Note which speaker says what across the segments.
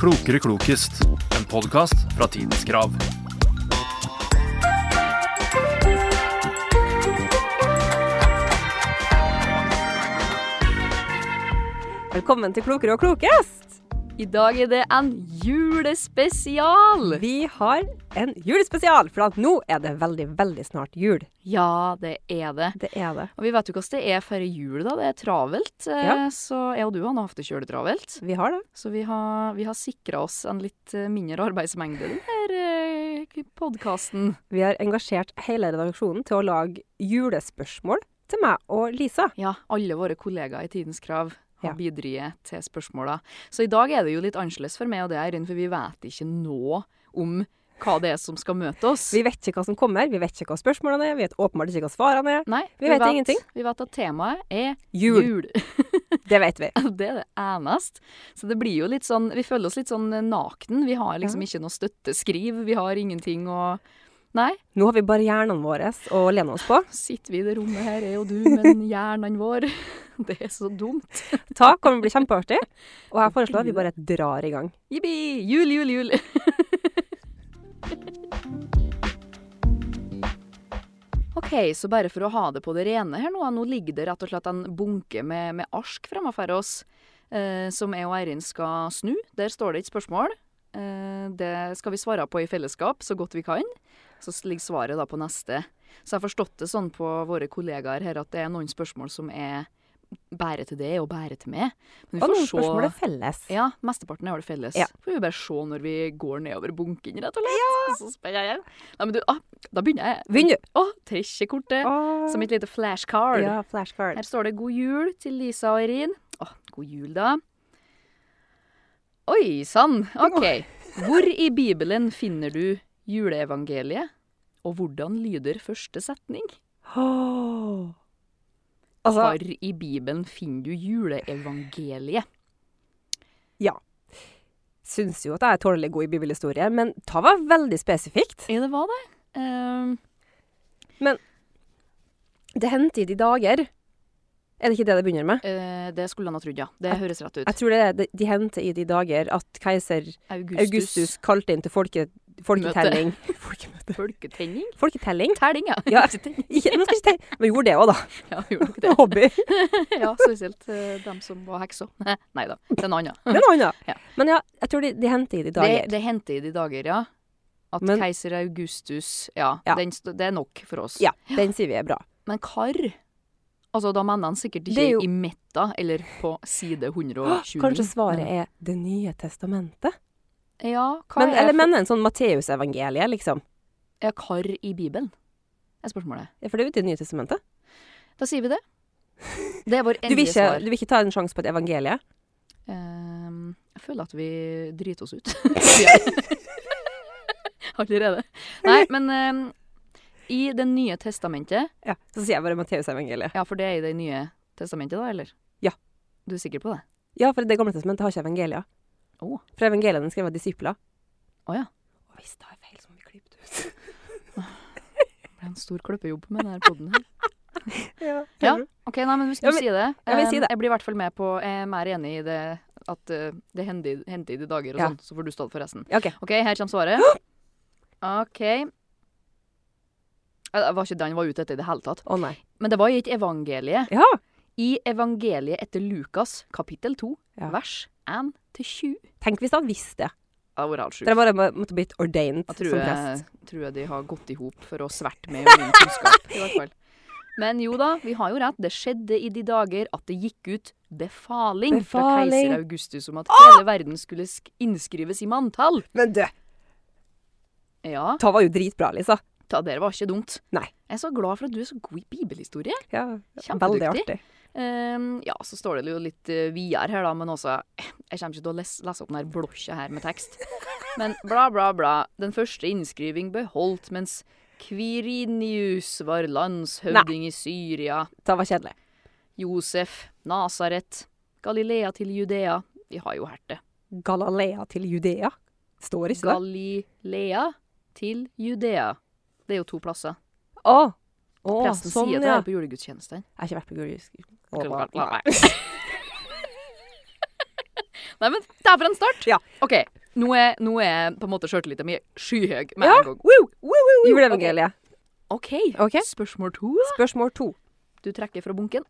Speaker 1: Klokere klokest, en podkast fra Tidens Krav.
Speaker 2: Velkommen til Klokere og klokest!
Speaker 3: I dag er det en julespesial!
Speaker 2: Vi har en julespesial, for at nå er det veldig, veldig snart jul.
Speaker 3: Ja, det er det.
Speaker 2: Det er det.
Speaker 3: Og vi vet jo hvordan det er før jul, da. Det er travelt. Eh,
Speaker 2: Ja.
Speaker 3: Så jeg og du Hanne, har hatt det kjøletravelt.
Speaker 2: Vi har det.
Speaker 3: Så vi har, vi har sikra oss en litt eh, mindre arbeidsmengde denne podkasten.
Speaker 2: Vi har engasjert hele redaksjonen til å lage julespørsmål til meg og Lisa.
Speaker 3: Ja, alle våre kollegaer i Tidens Krav har
Speaker 2: Ja.
Speaker 3: bidratt til spørsmåla. Så i dag er det jo litt annerledes for meg og deg, Eirin, for vi vet ikke nå om hva det er som skal møte oss.
Speaker 2: Vi vet ikke hva som kommer, vi vet ikke hva spørsmålene er, vi vet åpenbart ikke hva svarene er.
Speaker 3: Nei,
Speaker 2: vi vet ingenting.
Speaker 3: Vi vet at temaet er
Speaker 2: Jul,
Speaker 3: jul.
Speaker 2: det vet vi.
Speaker 3: Det er det eneste. Så det blir jo litt sånn Vi føler oss litt sånn naken. Vi har liksom
Speaker 2: Ja.
Speaker 3: ikke noe støtteskriv. Vi har ingenting å Nei.
Speaker 2: Nå har vi bare hjernene våre å lene oss på.
Speaker 3: Sitter vi i det rommet her, er jo du, men hjernen vår Det er så dumt.
Speaker 2: Ta kommer til å bli kjempeartig, og jeg foreslår at vi bare drar i gang.
Speaker 3: Jippi! Jul, jul, jul. OK, så bare for å ha det på det rene her nå, nå ligger det rett og slett en bunke med, med ark fremme for oss, eh, som jeg og Eirin skal snu. Der står det et spørsmål. Eh, det skal vi svare på i fellesskap så godt vi kan. Så ligger svaret da på neste. Så jeg har forstått det sånn på våre kollegaer her at det er noen spørsmål som er bare til deg og bare til meg. Men
Speaker 2: Og noen spørsmål er felles.
Speaker 3: ja, mesteparten har det felles.
Speaker 2: Ja.
Speaker 3: Får vi bare se når vi går nedover bunken, rett og slett. Så spør jeg igjen. Nei, men du, ah, da begynner jeg.
Speaker 2: Begynn du.
Speaker 3: Å, trekkekortet. Som et lite flashcard.
Speaker 2: Ja, flashcard.
Speaker 3: Her står det 'God jul' til Lisa og Eirin. Å, god jul, da. Oi sann, OK. Hvor i Bibelen finner du juleevangeliet? Og hvordan lyder første setning?
Speaker 2: Åh. Altså,
Speaker 3: Hvor i Bibelen finner du juleevangeliet?
Speaker 2: syns jo at jeg er tålelig god i bibelhistorie, men ta var veldig spesifikt.
Speaker 3: Ja, det var det. Ehm,
Speaker 2: Det hendte i de dager. Er det ikke det det begynner med?
Speaker 3: Eh, det skulle han ha trodd, ja. Det høres rett ut.
Speaker 2: Jeg tror det er det- de hendte i de dager at keiser
Speaker 3: Augustus.
Speaker 2: Augustus kalte inn til folke, folketelling. Folkemøte.
Speaker 3: Folketenning?
Speaker 2: Folketelling?
Speaker 3: Telling, ja.
Speaker 2: Ja.
Speaker 3: Ikke tenning.
Speaker 2: Ikke, men, skal ikke tenke. men gjorde det òg, da.
Speaker 3: ja gjorde nok
Speaker 2: Det er
Speaker 3: det.
Speaker 2: hobby.
Speaker 3: Ja, spesielt eh, dem som var hekser. Nei da, det er en annen.
Speaker 2: Men noe annet.
Speaker 3: Ja.
Speaker 2: Men ja, jeg tror de, de hendte i de
Speaker 3: Det,
Speaker 2: dager.
Speaker 3: det hendte i de dager, ja. At
Speaker 2: Men-
Speaker 3: keiser Augustus Ja,
Speaker 2: Ja.
Speaker 3: Den, st- det er nok for oss.
Speaker 2: Ja, den sier vi er bra.
Speaker 3: Men kar Altså, da mener han sikkert
Speaker 2: Det er
Speaker 3: ikke
Speaker 2: jo-
Speaker 3: i metta eller på side 120.
Speaker 2: Kanskje svaret er Det nye testamentet?
Speaker 3: Ja, hva
Speaker 2: Men,
Speaker 3: er
Speaker 2: eller
Speaker 3: for-
Speaker 2: mener en sånn Matteusevangeliet, liksom?
Speaker 3: Ja, kar i Bibelen? er spørsmålet.
Speaker 2: Ja, For det er jo Det nye testamentet.
Speaker 3: Da sier vi det. Det er vår
Speaker 2: Du vil,
Speaker 3: endelige
Speaker 2: ikke,
Speaker 3: svar.
Speaker 2: du vil ikke ta en sjanse på et evangelie?
Speaker 3: Ehm, jeg føler at vi driter oss ut. Allerede. Nei, men ehm, i Det nye testamentet
Speaker 2: Ja, Så sier jeg bare Matteusevangeliet.
Speaker 3: Ja, for det er i Det nye testamentet, da, eller?
Speaker 2: Ja.
Speaker 3: Du er sikker på det?
Speaker 2: Ja, for Det gamle testamentet har ikke evangelia.
Speaker 3: Å.
Speaker 2: For evangeliene er skrevet av disipler.
Speaker 3: Å ja.
Speaker 2: Og hvis det er feil, så må vi klippe det ut.
Speaker 3: Det ble en stor kløppejobb med denne poden her.
Speaker 2: ja,
Speaker 3: Ja. OK, nei, men hvis du
Speaker 2: Ja, men-
Speaker 3: sier det
Speaker 2: ja, men si
Speaker 3: ehm,
Speaker 2: det.
Speaker 3: Jeg blir i hvert fall med på Jeg er mer enig i det at eh, det hendte i- hendte i de dager og
Speaker 2: Ja.
Speaker 3: sånn, så får du stå for resten.
Speaker 2: OK.
Speaker 3: OK, her kommer svaret. OK. Ja, Det var ikke den jeg var ute etter i det hele tatt.
Speaker 2: Å nei.
Speaker 3: Men det var i et evangelie.
Speaker 2: Ja.
Speaker 3: I evangeliet etter Lukas, kapittel 2,
Speaker 2: Ja.
Speaker 3: vers 1-20.
Speaker 2: Tenk hvis han visste det.
Speaker 3: Det hadde vært helt sjukt.
Speaker 2: Dere bare må- måtte blitt ordained
Speaker 3: Jeg
Speaker 2: som
Speaker 3: tror,
Speaker 2: prest.
Speaker 3: jeg, tror jeg de har gått i hop for å sverte med min kunnskap, i hvert fall. Men jo da, vi har jo rett. Det skjedde i de dager at det gikk ut befaling, fra
Speaker 2: Befaling.
Speaker 3: keiser Augustus om at hele verden skulle sk innskrives i manntall.
Speaker 2: Men du,
Speaker 3: Ja,
Speaker 2: ta var jo dritbra, Lisa.
Speaker 3: da, det var ikke dumt.
Speaker 2: Nei.
Speaker 3: Jeg er så glad for at du er så god i bibelhistorie.
Speaker 2: Ja,
Speaker 3: Kjempedyktig.
Speaker 2: Veldig artig.
Speaker 3: Ehm, ja, så står det jo litt uh, videre her, da, men også eh, Jeg kommer ikke til å lese, lese opp den her blokka her med tekst. Men bla, bla, bla. Den første innskriving beholdt, mens Kvirinius var landshøvding i Syria.
Speaker 2: Ta var kjedelig.
Speaker 3: Josef, Nasaret, Galilea til Judea. Vi har jo hørt det.
Speaker 2: Galalea til Judea. Står ikke det?
Speaker 3: Galilea til Judea. Det er jo to plasser.
Speaker 2: Å! Å,
Speaker 3: Presten
Speaker 2: sånn,
Speaker 3: sier det
Speaker 2: ja.
Speaker 3: her på julegudstjenesten.
Speaker 2: Jeg har ikke vært på Gullius.
Speaker 3: Nei. Nei, men det er for en start.
Speaker 2: Ja.
Speaker 3: OK. Nå er, nå er på en måte sjøltilliten min skyhøy med
Speaker 2: Ja.
Speaker 3: en gang. Woo! Woo, woo, woo.
Speaker 2: Juleevangeliet.
Speaker 3: OK.
Speaker 2: Ok.
Speaker 3: Spørsmål to.
Speaker 2: Spørsmål to.
Speaker 3: Du trekker fra bunken.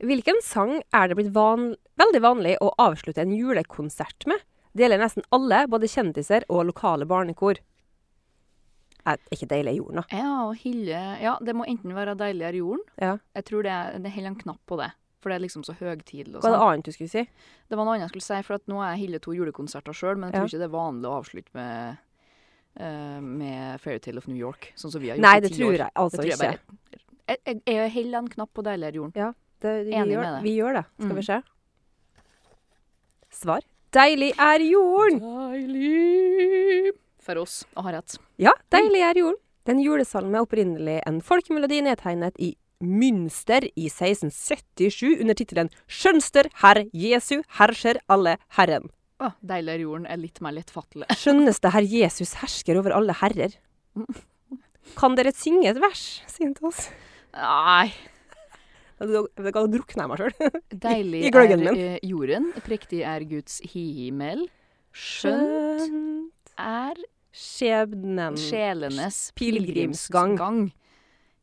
Speaker 2: Hvilken sang er det blitt van veldig vanlig å avslutte en julekonsert med? Det gjelder nesten alle, både kjendiser og lokale barnekor. Er ikke deilig i jorden, da?
Speaker 3: Ja, og Hille Ja, det må enten være Deilig er jorden.
Speaker 2: Ja.
Speaker 3: Jeg tror det, er- det holder en knapp på det. For det er liksom så høytidelig. og
Speaker 2: Hva er det
Speaker 3: sånn.
Speaker 2: annet du skulle si?
Speaker 3: Det var noe annet jeg skulle si, for at nå er Hille to julekonserter sjøl, men jeg tror
Speaker 2: Ja.
Speaker 3: ikke det er vanlig å avslutte med eh, med Fairytale of New York, sånn som vi har gjort
Speaker 2: Nei,
Speaker 3: i
Speaker 2: det
Speaker 3: ti
Speaker 2: tror
Speaker 3: år.
Speaker 2: jeg altså
Speaker 3: det tror
Speaker 2: ikke.
Speaker 3: jeg bare Jeg, jeg, jeg holder en knapp på Deilig er jorden.
Speaker 2: Det, vi,
Speaker 3: Enig
Speaker 2: gjør,
Speaker 3: med deg.
Speaker 2: vi gjør det. Skal
Speaker 3: Mm.
Speaker 2: vi se. Svar. Deilig er jorden!
Speaker 3: Deilig For oss å ha rett.
Speaker 2: Ja, deilig er jorden. Den julesalmen er opprinnelig en folkemelodi nedtegnet i Münster i 1677 under tittelen 'Skjønster herr Jesu herser alle Herren'.
Speaker 3: Å, deilig er jorden er litt mer lettfattelig.
Speaker 2: Skjønneste herr Jesus hersker over alle herrer. Kan dere synge et vers, sier han til oss?
Speaker 3: Nei.
Speaker 2: Da da- da drukner jeg meg sjøl.
Speaker 3: Deilig
Speaker 2: I gløggen
Speaker 3: er
Speaker 2: min.
Speaker 3: eh, jorden, prektig er Guds himmel. Skjønt
Speaker 2: Skjønn
Speaker 3: er
Speaker 2: skjebnen
Speaker 3: sjelenes
Speaker 2: Pilegrimsgang.
Speaker 3: pilegrimsgang.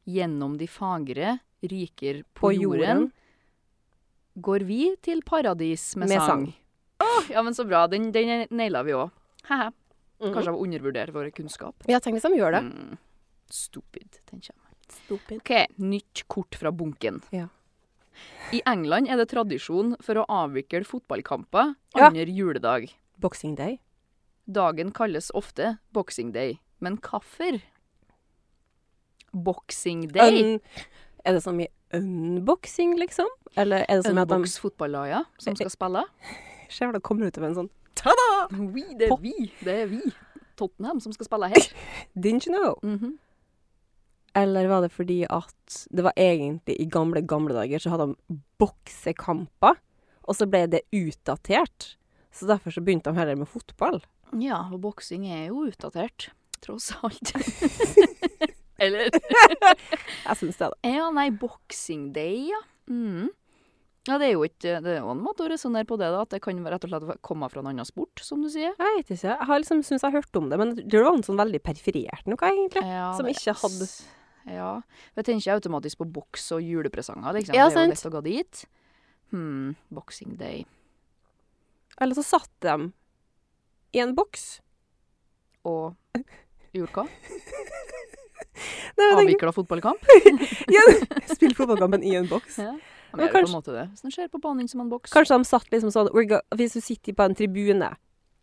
Speaker 3: Gjennom de fagre riker på,
Speaker 2: på
Speaker 3: jorden
Speaker 2: jorden.
Speaker 3: går vi til paradis med,
Speaker 2: Med
Speaker 3: sang.
Speaker 2: sang.
Speaker 3: Åh, ja, men så bra. Den, den naila vi òg. Hæ-hæ.
Speaker 2: Mhm.
Speaker 3: Kanskje jeg undervurderer vår kunnskap.
Speaker 2: Ja, tenk hvis de gjør det.
Speaker 3: Mm. Stupid, tenker jeg. OK, nytt kort fra bunken.
Speaker 2: Ja.
Speaker 3: I England er det tradisjon for å avvikle fotballkamper
Speaker 2: Ja.
Speaker 3: andre juledag.
Speaker 2: Boxing Day.
Speaker 3: Dagen kalles ofte Boxing Day, men kaffer Boxing Day.
Speaker 2: Un er det som i unboxing, liksom? Eller er det som i at de
Speaker 3: Unbox fotballaget som skal spille.
Speaker 2: Ser hvordan det kommer ut av en sånn
Speaker 3: Vi, det er vi. Det er vi. Tottenham som skal spille her.
Speaker 2: Didn't you know?
Speaker 3: Mhm.
Speaker 2: Eller var det fordi at det var egentlig i gamle, gamle dager så hadde de boksekamper, og så ble det utdatert? Så derfor så begynte de heller med fotball.
Speaker 3: Ja, og boksing er jo utdatert. Tross alt. Eller
Speaker 2: Jeg syns det, da.
Speaker 3: Ja, nei, Boxing Day, ja. Mhm. Ja, det er jo ikke Det er jo en måte å resonnere på det, da. At det kan rett og slett komme fra en annen sport, som du sier.
Speaker 2: Jeg vet ikke. Jeg har liksom syns jeg har hørt om det, men det var en sånn veldig perifert noe, egentlig.
Speaker 3: Ja,
Speaker 2: Som
Speaker 3: det-
Speaker 2: ikke hadde-
Speaker 3: Ja. Jeg tenker automatisk på boks og julepresanger, liksom.
Speaker 2: Ja,
Speaker 3: det er jo
Speaker 2: sant.
Speaker 3: lett å gå dit. Hmm, Boxing Day.
Speaker 2: Eller så satt de i en boks.
Speaker 3: Og gjorde hva?
Speaker 2: Nei, jeg tenker-
Speaker 3: Avvikla fotballkamp?
Speaker 2: Ja, Spill fotballkampen i en boks.
Speaker 3: Ja.
Speaker 2: Men
Speaker 3: Men kanskje... på
Speaker 2: kanskje-
Speaker 3: en måte det. Hvis den skjer på banen som en boks.
Speaker 2: Kanskje de satt liksom sånn we're go Hvis du sitter på en tribune,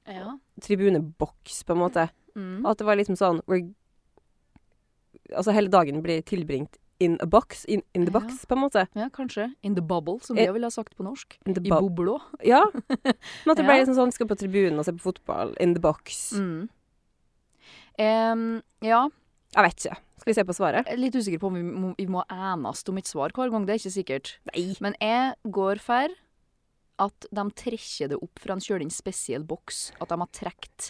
Speaker 3: Ja.
Speaker 2: tribuneboks, på en måte,
Speaker 3: Mm.
Speaker 2: at det var liksom sånn we're, Altså hele dagen blir tilbringt in a box, in, in the
Speaker 3: Ja.
Speaker 2: box, på en måte.
Speaker 3: ja, kanskje. In the bubble, som jeg ville ha sagt på norsk.
Speaker 2: In the
Speaker 3: I
Speaker 2: bo-
Speaker 3: bobla.
Speaker 2: Ja. Men at det ble
Speaker 3: Ja.
Speaker 2: liksom sånn vi skal på tribunen og se på fotball, in the box.
Speaker 3: Mm. Em, ja,
Speaker 2: Jeg vet ikke. Skal vi se på svaret?
Speaker 3: jeg er litt usikker på om vi må, vi må ænast om et svar hver gang, det er ikke sikkert.
Speaker 2: Nei.
Speaker 3: Men jeg går for at de trekker det opp fra en kjølig spesiell boks. At de har trukket.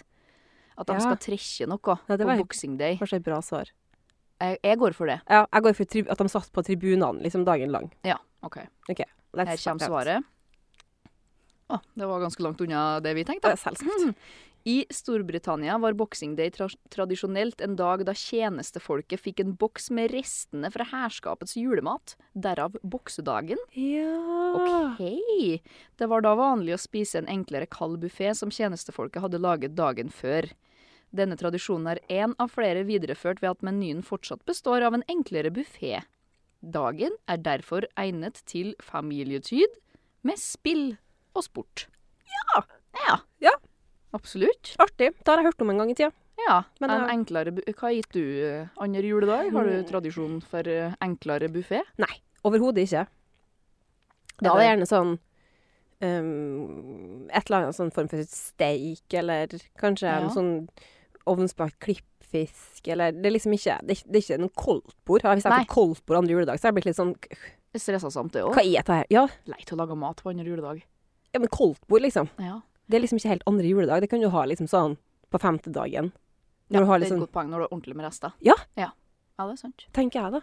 Speaker 3: At de
Speaker 2: Ja.
Speaker 3: skal trekke noe
Speaker 2: Ja, det
Speaker 3: på
Speaker 2: var-
Speaker 3: Boxing Day.
Speaker 2: Kanskje et bra svar.
Speaker 3: Jeg, jeg går for det.
Speaker 2: Ja, jeg går for tri at de satt på tribunene liksom dagen lang.
Speaker 3: Ja, OK.
Speaker 2: Let's
Speaker 3: Her
Speaker 2: find
Speaker 3: kommer
Speaker 2: out.
Speaker 3: svaret. Å, det var ganske langt unna det vi tenkte.
Speaker 2: Ja, Selvsagt.
Speaker 3: Mm. I Storbritannia var Boxing Day tra tradisjonelt en dag da tjenestefolket fikk en boks med restene fra herskapets julemat, derav boksedagen.
Speaker 2: Ja.
Speaker 3: Ok. Det var da vanlig å spise en enklere kald buffé som tjenestefolket hadde laget dagen før. Denne tradisjonen er én av flere videreført ved at menyen fortsatt består av en enklere buffé. Dagen er derfor egnet til familietyd med spill og sport. Ja.
Speaker 2: Ja.
Speaker 3: Absolutt.
Speaker 2: Artig. Det har jeg hørt om en gang i tida.
Speaker 3: Ja.
Speaker 2: Men eh, Mm.
Speaker 3: en
Speaker 2: det-
Speaker 3: enklere bu Hva gitt du eh, andre juledag? Har du tradisjon for eh, enklere buffé?
Speaker 2: Nei, overhodet ikke. Da
Speaker 3: Er
Speaker 2: er det gjerne
Speaker 3: det-
Speaker 2: sånn um, Et eller annet sånn form for steik, eller kanskje
Speaker 3: Ja.
Speaker 2: en sånn ovnsbakt klippfisk, eller Det er liksom ikke Det er, ikke- det er ikke noe koldtbord. Hvis jeg
Speaker 3: Nei.
Speaker 2: har fått koldtbord andre juledag, så har jeg blitt litt sånn
Speaker 3: Stressa samt, det òg.
Speaker 2: Hva er dette her? Ja,
Speaker 3: Leit å lage mat på andre juledag.
Speaker 2: ja men koldtbord, liksom.
Speaker 3: Ja.
Speaker 2: Det er liksom ikke helt andre juledag. Det kan du ha liksom sånn på femte dagen. Når
Speaker 3: Ja,
Speaker 2: du har
Speaker 3: Det er
Speaker 2: liksom
Speaker 3: et godt poeng når du er ordentlig med rester.
Speaker 2: Ja.
Speaker 3: ja. Ja, det er sant.
Speaker 2: Tenker jeg, da.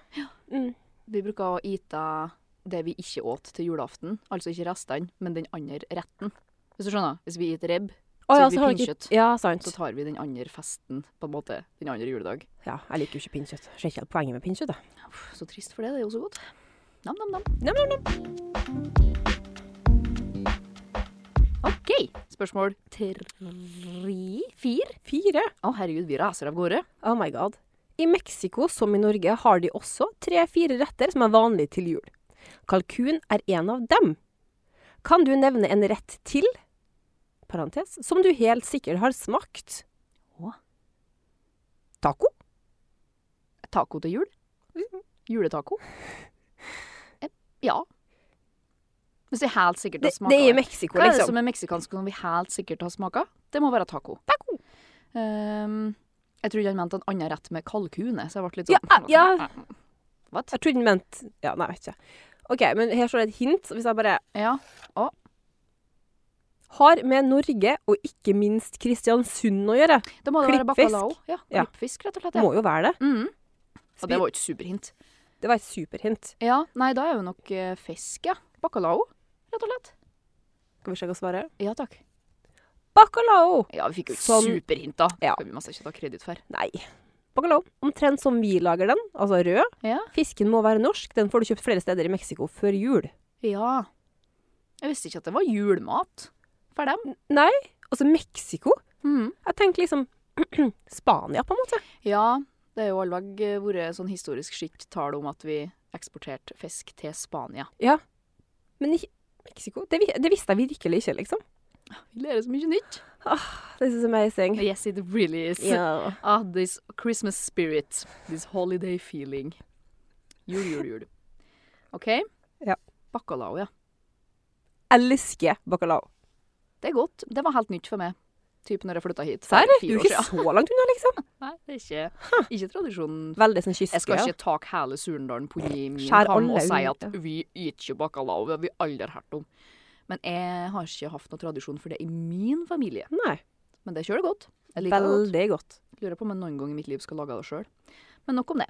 Speaker 2: Mm.
Speaker 3: Vi bruker å ite det vi ikke åt til julaften, altså ikke restene, men den andre retten. Hvis Hvis du skjønner? Hvis vi gir et rebb,
Speaker 2: Å,
Speaker 3: Så
Speaker 2: ja,
Speaker 3: vi
Speaker 2: så har du ikke
Speaker 3: pinnkjøtt.
Speaker 2: Ja, sant.
Speaker 3: så tar vi den andre festen, på en måte. Den andre juledag.
Speaker 2: Ja, jeg liker jo ikke pinnkjøtt. Ser ikke helt poenget med pinnkjøtt, jeg.
Speaker 3: Uff, Så trist for det. Det er jo så godt. Nam, nam, nam.
Speaker 2: Nam, nam, nam.
Speaker 3: OK. Spørsmål tre Fire?
Speaker 2: Fire.
Speaker 3: Å, herregud, vi raser av gårde.
Speaker 2: Oh my god. I Mexico, som i Norge, har de også tre-fire retter som er vanlige til jul. Kalkun er en av dem. Kan du nevne en rett til, parentes, som du helt sikkert har smakt?
Speaker 3: Hva?
Speaker 2: Taco?
Speaker 3: Taco til jul?
Speaker 2: Mm.
Speaker 3: Juletaco? Eh, Ja. Hvis vi helt sikkert har
Speaker 2: Det,
Speaker 3: smaka
Speaker 2: det er i
Speaker 3: det.
Speaker 2: Mexico,
Speaker 3: Hva er det
Speaker 2: liksom.
Speaker 3: som er meksikansk som vi helt sikkert har smaka? Det må være taco.
Speaker 2: Taco.
Speaker 3: Ehm, jeg trodde han mente en annen rett med kalkune, så jeg ble litt
Speaker 2: Ja,
Speaker 3: sånn
Speaker 2: ja.
Speaker 3: What?
Speaker 2: Jeg trodde den mente Ja, nei, jeg vet ikke. OK, men her står det et hint. Hvis jeg bare
Speaker 3: Ja.
Speaker 2: Har med Norge, og ikke minst Kristiansund, å gjøre.
Speaker 3: Da må det være
Speaker 2: Klippfisk.
Speaker 3: bacalao. Ja,
Speaker 2: Ja.
Speaker 3: klippfisk, rett og slett. Ja.
Speaker 2: Må jo være det.
Speaker 3: Mhm. Ja, det var jo et superhint.
Speaker 2: Det var et superhint.
Speaker 3: Ja, nei, da er jo nok eh, fisk, ja. Bacalao, rett og slett.
Speaker 2: Skal vi se hva svaret er?
Speaker 3: Ja takk.
Speaker 2: Bacalao!
Speaker 3: Ja, vi fikk jo et
Speaker 2: Sånn-
Speaker 3: superhint, da.
Speaker 2: Ja.
Speaker 3: Skal vi masse ikke ta kreditt for.
Speaker 2: Nei. Bacalao. Omtrent som vi lager den, altså rød.
Speaker 3: Ja.
Speaker 2: Fisken må være norsk. Den får du kjøpt flere steder i Mexico før jul.
Speaker 3: Ja. Jeg visste ikke at det var julemat for dem.
Speaker 2: Nei, altså Mexico. Jeg tenker liksom Spania, på en måte.
Speaker 3: Ja, det har jo allveg eh, vært sånn historisk skitt tall om at vi eksporterte fisk til Spania.
Speaker 2: Men ikke Mexico det, vi- det visste jeg virkelig ikke, liksom.
Speaker 3: Vi lærer så mye nytt.
Speaker 2: This is amazing.
Speaker 3: Yes, it really is.
Speaker 2: Ja.
Speaker 3: Ah, this Christmas spirit. This holiday feeling. Jul, jul, jul. OK?
Speaker 2: Ja.
Speaker 3: Bacalao, ja.
Speaker 2: Elsker bacalao.
Speaker 3: Det er godt. Det var helt nytt for meg. Typ når jeg flytta hit. for
Speaker 2: Serr? Du er
Speaker 3: fire år
Speaker 2: ikke
Speaker 3: siden.
Speaker 2: så langt unna, liksom.
Speaker 3: Nei, det er ikke, ikke tradisjonen.
Speaker 2: Veldig sånn kyske.
Speaker 3: Jeg skal ikke ta hele Surendalen på i min
Speaker 2: Skjær
Speaker 3: kam og
Speaker 2: alle
Speaker 3: si
Speaker 2: ut,
Speaker 3: at vi gir ikke bacalao. Det har vi aldri hørt om. Men jeg har ikke hatt noen tradisjon for det i min familie.
Speaker 2: Nei.
Speaker 3: Men det kjører godt. Jeg liker det godt.
Speaker 2: Veldig godt.
Speaker 3: Lurer på om jeg noen gang i mitt liv skal lage det sjøl. Men nok om det.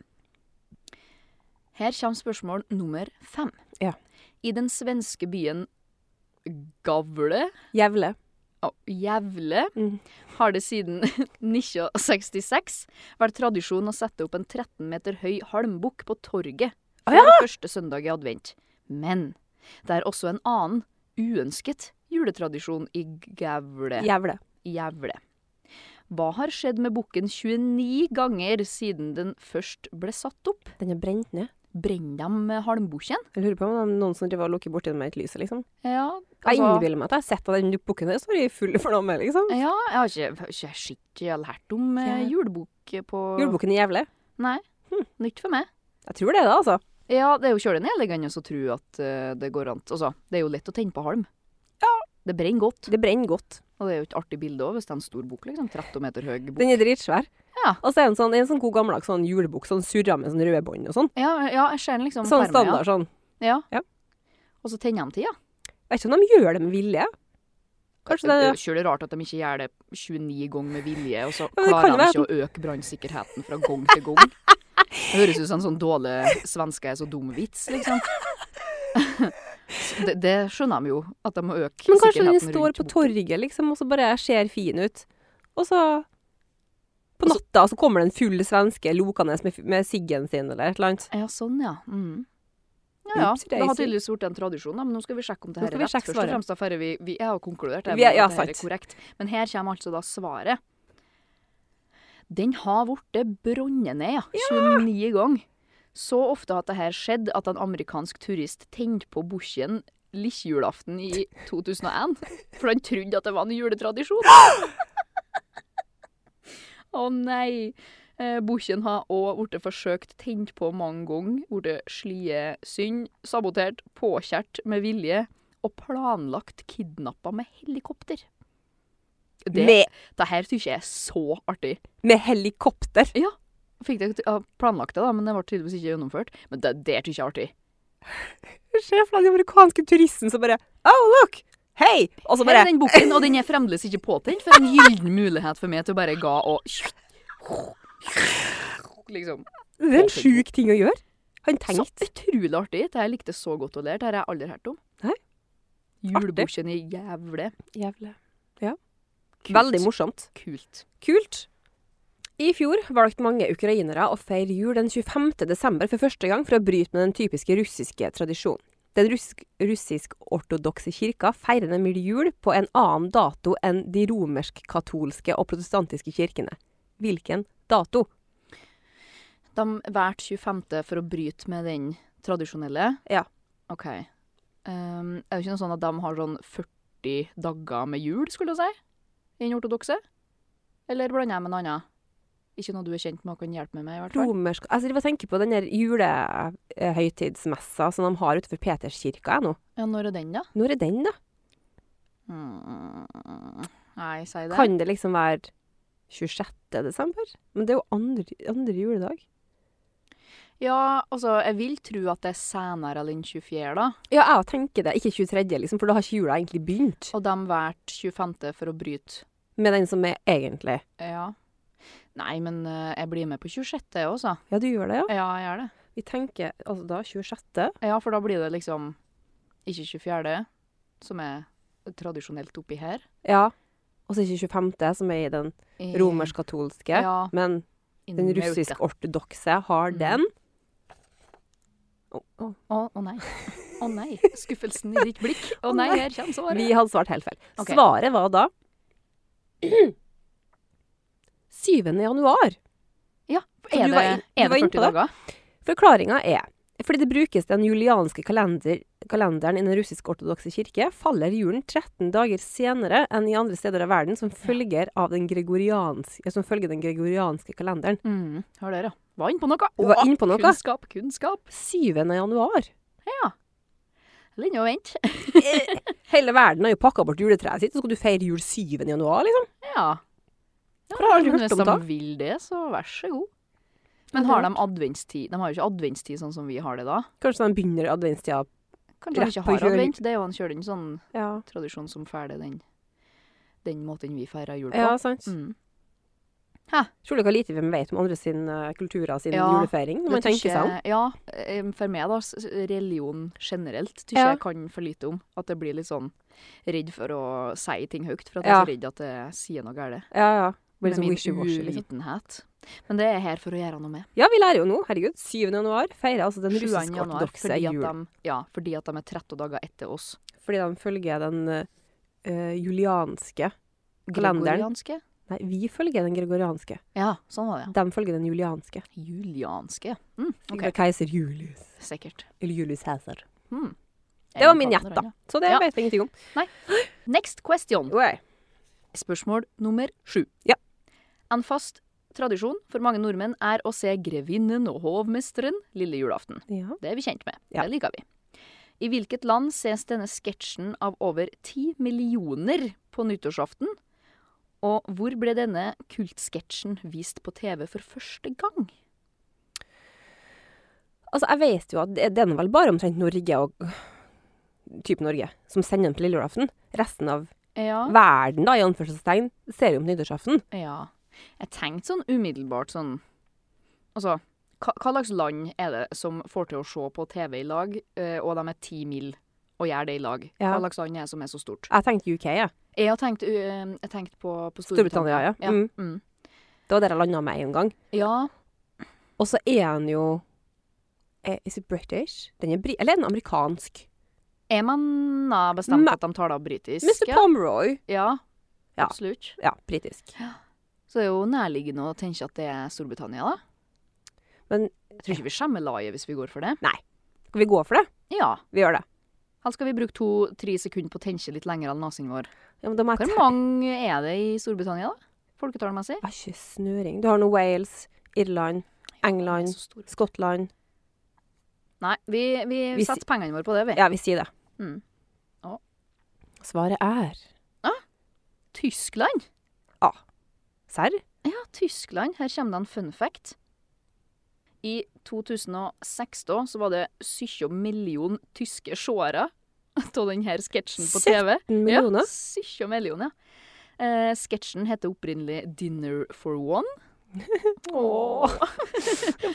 Speaker 3: Her kommer spørsmål nummer fem.
Speaker 2: Ja.
Speaker 3: I den svenske byen Gavle
Speaker 2: Jævle.
Speaker 3: og Jævle
Speaker 2: Mm.
Speaker 3: har det siden 1966 vært tradisjon å sette opp en 13 meter høy halmbukk på torget
Speaker 2: Å
Speaker 3: for første søndag i advent. Men det er også en annen, uønsket juletradisjon i Gavle.
Speaker 2: Jævle.
Speaker 3: Jævle. Hva har skjedd med bukken 29 ganger siden den først ble satt opp?
Speaker 2: Den er brent ned.
Speaker 3: Brenner de med halmbukken?
Speaker 2: Jeg lurer på om det er noen som driver og lukker borti den med et lys, liksom.
Speaker 3: Ja,
Speaker 2: Jeg
Speaker 3: altså,
Speaker 2: innbiller meg at jeg har sett at den bukken der står i full fornømme, liksom.
Speaker 3: ja, jeg har ikke, ikke skikkelig lært om eh,
Speaker 2: Ja.
Speaker 3: julebukk Hm. på
Speaker 2: Julebukken i Jævle.
Speaker 3: Nei. Nytt for meg.
Speaker 2: Jeg tror det, da, altså.
Speaker 3: Ja, det er jo kjølig elegant å tro at eh, det går an. Altså, det er jo lett å tenne på halm. Det brenner godt.
Speaker 2: Det brenner godt.
Speaker 3: Og det er jo et artig bilde òg, hvis det er en stor bukk, liksom. 13 meter høy bukk.
Speaker 2: Den er dritsvær.
Speaker 3: Ja.
Speaker 2: Og så er det en sånn, en sånn god gammeldags sånn julebukk, sånn surra med sånn røde bånd og sånn.
Speaker 3: Ja, ja, jeg ser den liksom
Speaker 2: Sånn
Speaker 3: ferme,
Speaker 2: standard sånn.
Speaker 3: Ja.
Speaker 2: Ja.
Speaker 3: ja. Og så tenner de til, ja.
Speaker 2: Jeg vet ikke om de gjør det med vilje. Kanskje det
Speaker 3: Det er jo kjølig rart at de ikke gjør det 29 ganger med vilje, og så
Speaker 2: men det
Speaker 3: klarer
Speaker 2: kan
Speaker 3: de
Speaker 2: jo
Speaker 3: ikke å øke brannsikkerheten fra gang til gang. Det høres ut som en sånn dårlig svenske er så dum-vits, liksom. Det, det skjønner de jo, at de må
Speaker 2: Men
Speaker 3: øke
Speaker 2: kanskje
Speaker 3: sikkerheten
Speaker 2: den
Speaker 3: rundt
Speaker 2: står på
Speaker 3: boken.
Speaker 2: torget, liksom, og så bare ser fin ut. Og så På natta så kommer det en full svenske lokende med, med siggen sin eller et eller annet.
Speaker 3: Ja, sånn, ja. Mm. Ja, ja.
Speaker 2: Ups,
Speaker 3: Det har
Speaker 2: daisy.
Speaker 3: tydeligvis vært en tradisjon, da, men nå skal vi sjekke om det
Speaker 2: Nå
Speaker 3: her
Speaker 2: skal
Speaker 3: er
Speaker 2: vi
Speaker 3: rett.
Speaker 2: sjekke
Speaker 3: Først og
Speaker 2: svaret.
Speaker 3: fremst da, før vi, vi jeg har konkludert jeg
Speaker 2: Vi er-
Speaker 3: mener
Speaker 2: ja,
Speaker 3: at det her er
Speaker 2: sant.
Speaker 3: korrekt. Men her kommer altså da svaret. Den har blitt brunnet ned, ja. 29 ganger. Så ofte har det her skjedd at en amerikansk turist tente på bukken lillejulaften i 2001, for han trodde at det var en juletradisjon. Å nei. Eh, Bukken har òg blitt forsøkt tent på mange ganger, blitt slie synd, sabotert, påkjært med vilje og planlagt kidnappa med helikopter. Det,
Speaker 2: Med,
Speaker 3: det her syns jeg er så artig.
Speaker 2: med helikopter.
Speaker 3: Fikk det, ja, planlagt det, da, men det ble tydeligvis ikke gjennomført. Men det der syns jeg er artig.
Speaker 2: Sjef, la den amerikanske turisten som bare Oh, look! Hei! Og så
Speaker 3: Her
Speaker 2: bare
Speaker 3: er den boken, og den er fremdeles ikke påtent, for en gyllen mulighet for meg til å bare ga og Liksom.
Speaker 2: Det er en sjuk ting å gjøre. Han
Speaker 3: Så
Speaker 2: tenkte.
Speaker 3: utrolig artig. Det her likte jeg så godt å lære. Det her har jeg aldri hørt om.
Speaker 2: Nei.
Speaker 3: Julebukken i Jævle.
Speaker 2: Jævlig.
Speaker 3: Kult.
Speaker 2: Veldig morsomt.
Speaker 3: Kult.
Speaker 2: Kult. I fjor valgte mange ukrainere å feire jul den 25. desember for første gang for å bryte med den typiske russiske tradisjonen. Den rusk- russisk-ortodokse kirka feirer nemlig jul på en annen dato enn de romersk-katolske og protestantiske kirkene. Hvilken dato?
Speaker 3: De valgte 25. for å bryte med den tradisjonelle.
Speaker 2: Ja.
Speaker 3: OK. Ehm, er det ikke noe sånn at de har sånn 40 dager med jul, skulle jeg si? I den ortodokse? Eller blander jeg med noe annet? Ikke noe du er kjent med og kan hjelpe meg med, i hvert fall.
Speaker 2: Romersk altså, Jeg tenker på den der julehøytidsmessa som de har utenfor Peterskirka jeg, nå.
Speaker 3: Ja, når er den, da?
Speaker 2: Når er den, da?
Speaker 3: Mm, nei, si det.
Speaker 2: Kan det liksom være 26. desember? Men det er jo andre, andre juledag.
Speaker 3: Ja, altså, jeg vil tro at det er senere enn 24., da.
Speaker 2: Ja, jeg tenker det. Ikke 23., liksom, for da har ikke jula egentlig begynt.
Speaker 3: Og de valgte 25. for å bryte.
Speaker 2: Med den som er egentlig.
Speaker 3: Ja. Nei, men eh, jeg blir med på 26. også.
Speaker 2: Ja, du gjør det, ja.
Speaker 3: Ja, jeg gjør det.
Speaker 2: Vi tenker altså da 26.
Speaker 3: Ja, for da blir det liksom ikke 24., som er tradisjonelt oppi her.
Speaker 2: Ja. Og så ikke 25., som er i den
Speaker 3: I-
Speaker 2: romersk-katolske.
Speaker 3: Ja, Mm,
Speaker 2: Men
Speaker 3: i
Speaker 2: den
Speaker 3: Nauta.
Speaker 2: russisk-ortodokse har
Speaker 3: Mm.
Speaker 2: den. Å, å.
Speaker 3: Å å nei. Å nei. Skuffelsen i ditt blikk. Å nei,
Speaker 2: nei.
Speaker 3: her kommer svaret.
Speaker 2: Vi hadde svart helt feil.
Speaker 3: Ok.
Speaker 2: Svaret var da 7. januar.
Speaker 3: er
Speaker 2: du
Speaker 3: det,
Speaker 2: var inn- du
Speaker 3: er
Speaker 2: var
Speaker 3: det
Speaker 2: inn på
Speaker 3: 40
Speaker 2: det.
Speaker 3: dager?
Speaker 2: Forklaringa er fordi det brukes den julianske kalender, kalenderen i den russisk-ortodokse kirke, faller julen 13 dager senere enn i andre steder av verden som følger, av den, gregorianske, som følger den gregorianske kalenderen.
Speaker 3: Mm, hør der, ja. Var inne på noe.
Speaker 2: Du var
Speaker 3: Å,
Speaker 2: inne på noe.
Speaker 3: Kunnskap, kunnskap.
Speaker 2: 7. januar.
Speaker 3: Eller inne og vent.
Speaker 2: Hele verden har jo pakka bort juletreet sitt, så skal du feire jul 7. januar, liksom?
Speaker 3: Ja. ja
Speaker 2: For har du hørt
Speaker 3: hvis
Speaker 2: om
Speaker 3: de
Speaker 2: det?
Speaker 3: vil det, så vær så god.
Speaker 2: Ja,
Speaker 3: Men
Speaker 2: det
Speaker 3: har
Speaker 2: er
Speaker 3: de adventstid? De har jo ikke adventstid sånn som vi har det da.
Speaker 2: Kanskje de begynner i adventstida
Speaker 3: Kanskje
Speaker 2: Rett
Speaker 3: de ikke
Speaker 2: på
Speaker 3: har
Speaker 2: kjøl.
Speaker 3: advent? Det er jo en kjøling sånn
Speaker 2: ja.
Speaker 3: tradisjon som feirer den, den måten vi feirer jul på.
Speaker 2: ja, sant?
Speaker 3: Mm.
Speaker 2: Tror du ikke lite vi vet om andre sin eh, kulturer sin
Speaker 3: Ja,
Speaker 2: julefeiring, når man
Speaker 3: Det tykker
Speaker 2: tenker seg om?
Speaker 3: jeg- Ja, eh, for meg da, s- religion generelt, tykker
Speaker 2: Ja.
Speaker 3: jeg kan for lite om. At jeg blir litt sånn redd for å si ting høyt, for at
Speaker 2: Ja.
Speaker 3: jeg er så redd at jeg sier noe galt.
Speaker 2: Ja, ja. Blir
Speaker 3: Med
Speaker 2: det sånn
Speaker 3: min
Speaker 2: wishy-washy, liksom.
Speaker 3: uvitenhet. Men det er jeg her for å gjøre noe med.
Speaker 2: Ja, vi lærer jo nå. Herregud, 7. januar feirer altså den
Speaker 3: 7. januar,
Speaker 2: russisk-ortodokse
Speaker 3: fordi at,
Speaker 2: jul.
Speaker 3: de, ja, fordi at de er 30 dager etter oss.
Speaker 2: Fordi de følger den eh, julianske Kalenderen.
Speaker 3: Gregorianske?
Speaker 2: Nei, vi følger den gregorianske.
Speaker 3: Ja, sånn var det.
Speaker 2: De følger den julianske.
Speaker 3: Julianske. Mm,
Speaker 2: Okay.
Speaker 3: ok,
Speaker 2: Keiser Julius.
Speaker 3: sikkert.
Speaker 2: Eller Julius Cæsar.
Speaker 3: Mm.
Speaker 2: Det var min gjett,
Speaker 3: Eller
Speaker 2: da.
Speaker 3: annet.
Speaker 2: Så det
Speaker 3: Ja.
Speaker 2: vet vi ingenting om.
Speaker 3: Next question.
Speaker 2: Oi.
Speaker 3: Spørsmål nummer sju.
Speaker 2: Ja.
Speaker 3: En fast tradisjon for mange nordmenn er å se Grevinnen og Hovmesteren lille julaften.
Speaker 2: Ja.
Speaker 3: Det er vi kjent med.
Speaker 2: Ja.
Speaker 3: Det liker vi. I hvilket land ses denne sketsjen av over ti millioner på nyttårsaften? Og hvor ble denne kultsketsjen vist på TV for første gang?
Speaker 2: Altså, jeg vet jo at det, det er nå vel bare omtrent Norge og type Norge som sender den til lille julaften. Resten av
Speaker 3: Ja.
Speaker 2: verden, da, i anførselstegn, ser jo om nyttårsaften.
Speaker 3: ja. Jeg tenkte sånn umiddelbart sånn Altså, hva, hva slags land er det som får til å se på TV i lag, eh, og de er ti mil og gjør det i lag?
Speaker 2: Ja.
Speaker 3: Hva slags land er det som er så stort?
Speaker 2: Jeg tenkte UK, jeg.
Speaker 3: Jeg har tenkt, eh, jeg tenkte på, på
Speaker 2: Storbritannia,
Speaker 3: Storbritannia.
Speaker 2: ja. Mm. Det var der jeg landa med en gang.
Speaker 3: Ja.
Speaker 2: Og så er han jo eh, Is it British? Den er bri Eller er den amerikansk?
Speaker 3: Jeg mener bestemt
Speaker 2: Ma-
Speaker 3: at de taler britisk.
Speaker 2: Mr.
Speaker 3: ja.
Speaker 2: Pomeroy.
Speaker 3: Ja,
Speaker 2: Ja.
Speaker 3: absolutt.
Speaker 2: Ja, britisk.
Speaker 3: Så det er jo nærliggende å tenke at det er Storbritannia, da.
Speaker 2: Men-
Speaker 3: Jeg tror ikke vi skjemmer laget hvis vi går for det.
Speaker 2: Skal vi gå for det?
Speaker 3: Ja.
Speaker 2: Vi gjør det.
Speaker 3: Her skal vi bruke to-tre sekunder på å tenke litt lenger enn nesen vår.
Speaker 2: Ja, men da må jeg
Speaker 3: Hvor
Speaker 2: te-
Speaker 3: mange er det i Storbritannia, da? Folketallmessig?
Speaker 2: Jeg har ikke snøring. Du har nå Wales, Irland, England, Skottland
Speaker 3: Nei, vi, vi,
Speaker 2: Vi si-
Speaker 3: setter pengene våre på det, vi.
Speaker 2: Ja, vi sier det.
Speaker 3: Mm. Å.
Speaker 2: Svaret er
Speaker 3: Tyskland?
Speaker 2: Serr?
Speaker 3: Ja, Tyskland. Her kommer det en fun fact. I 2006 da, så var det 70 millioner tyske seere av denne sketsjen på TV.
Speaker 2: 17 millioner?
Speaker 3: Ja, 70 millioner, ja. Eh, sketsjen heter opprinnelig Dinner for One.
Speaker 2: Åh.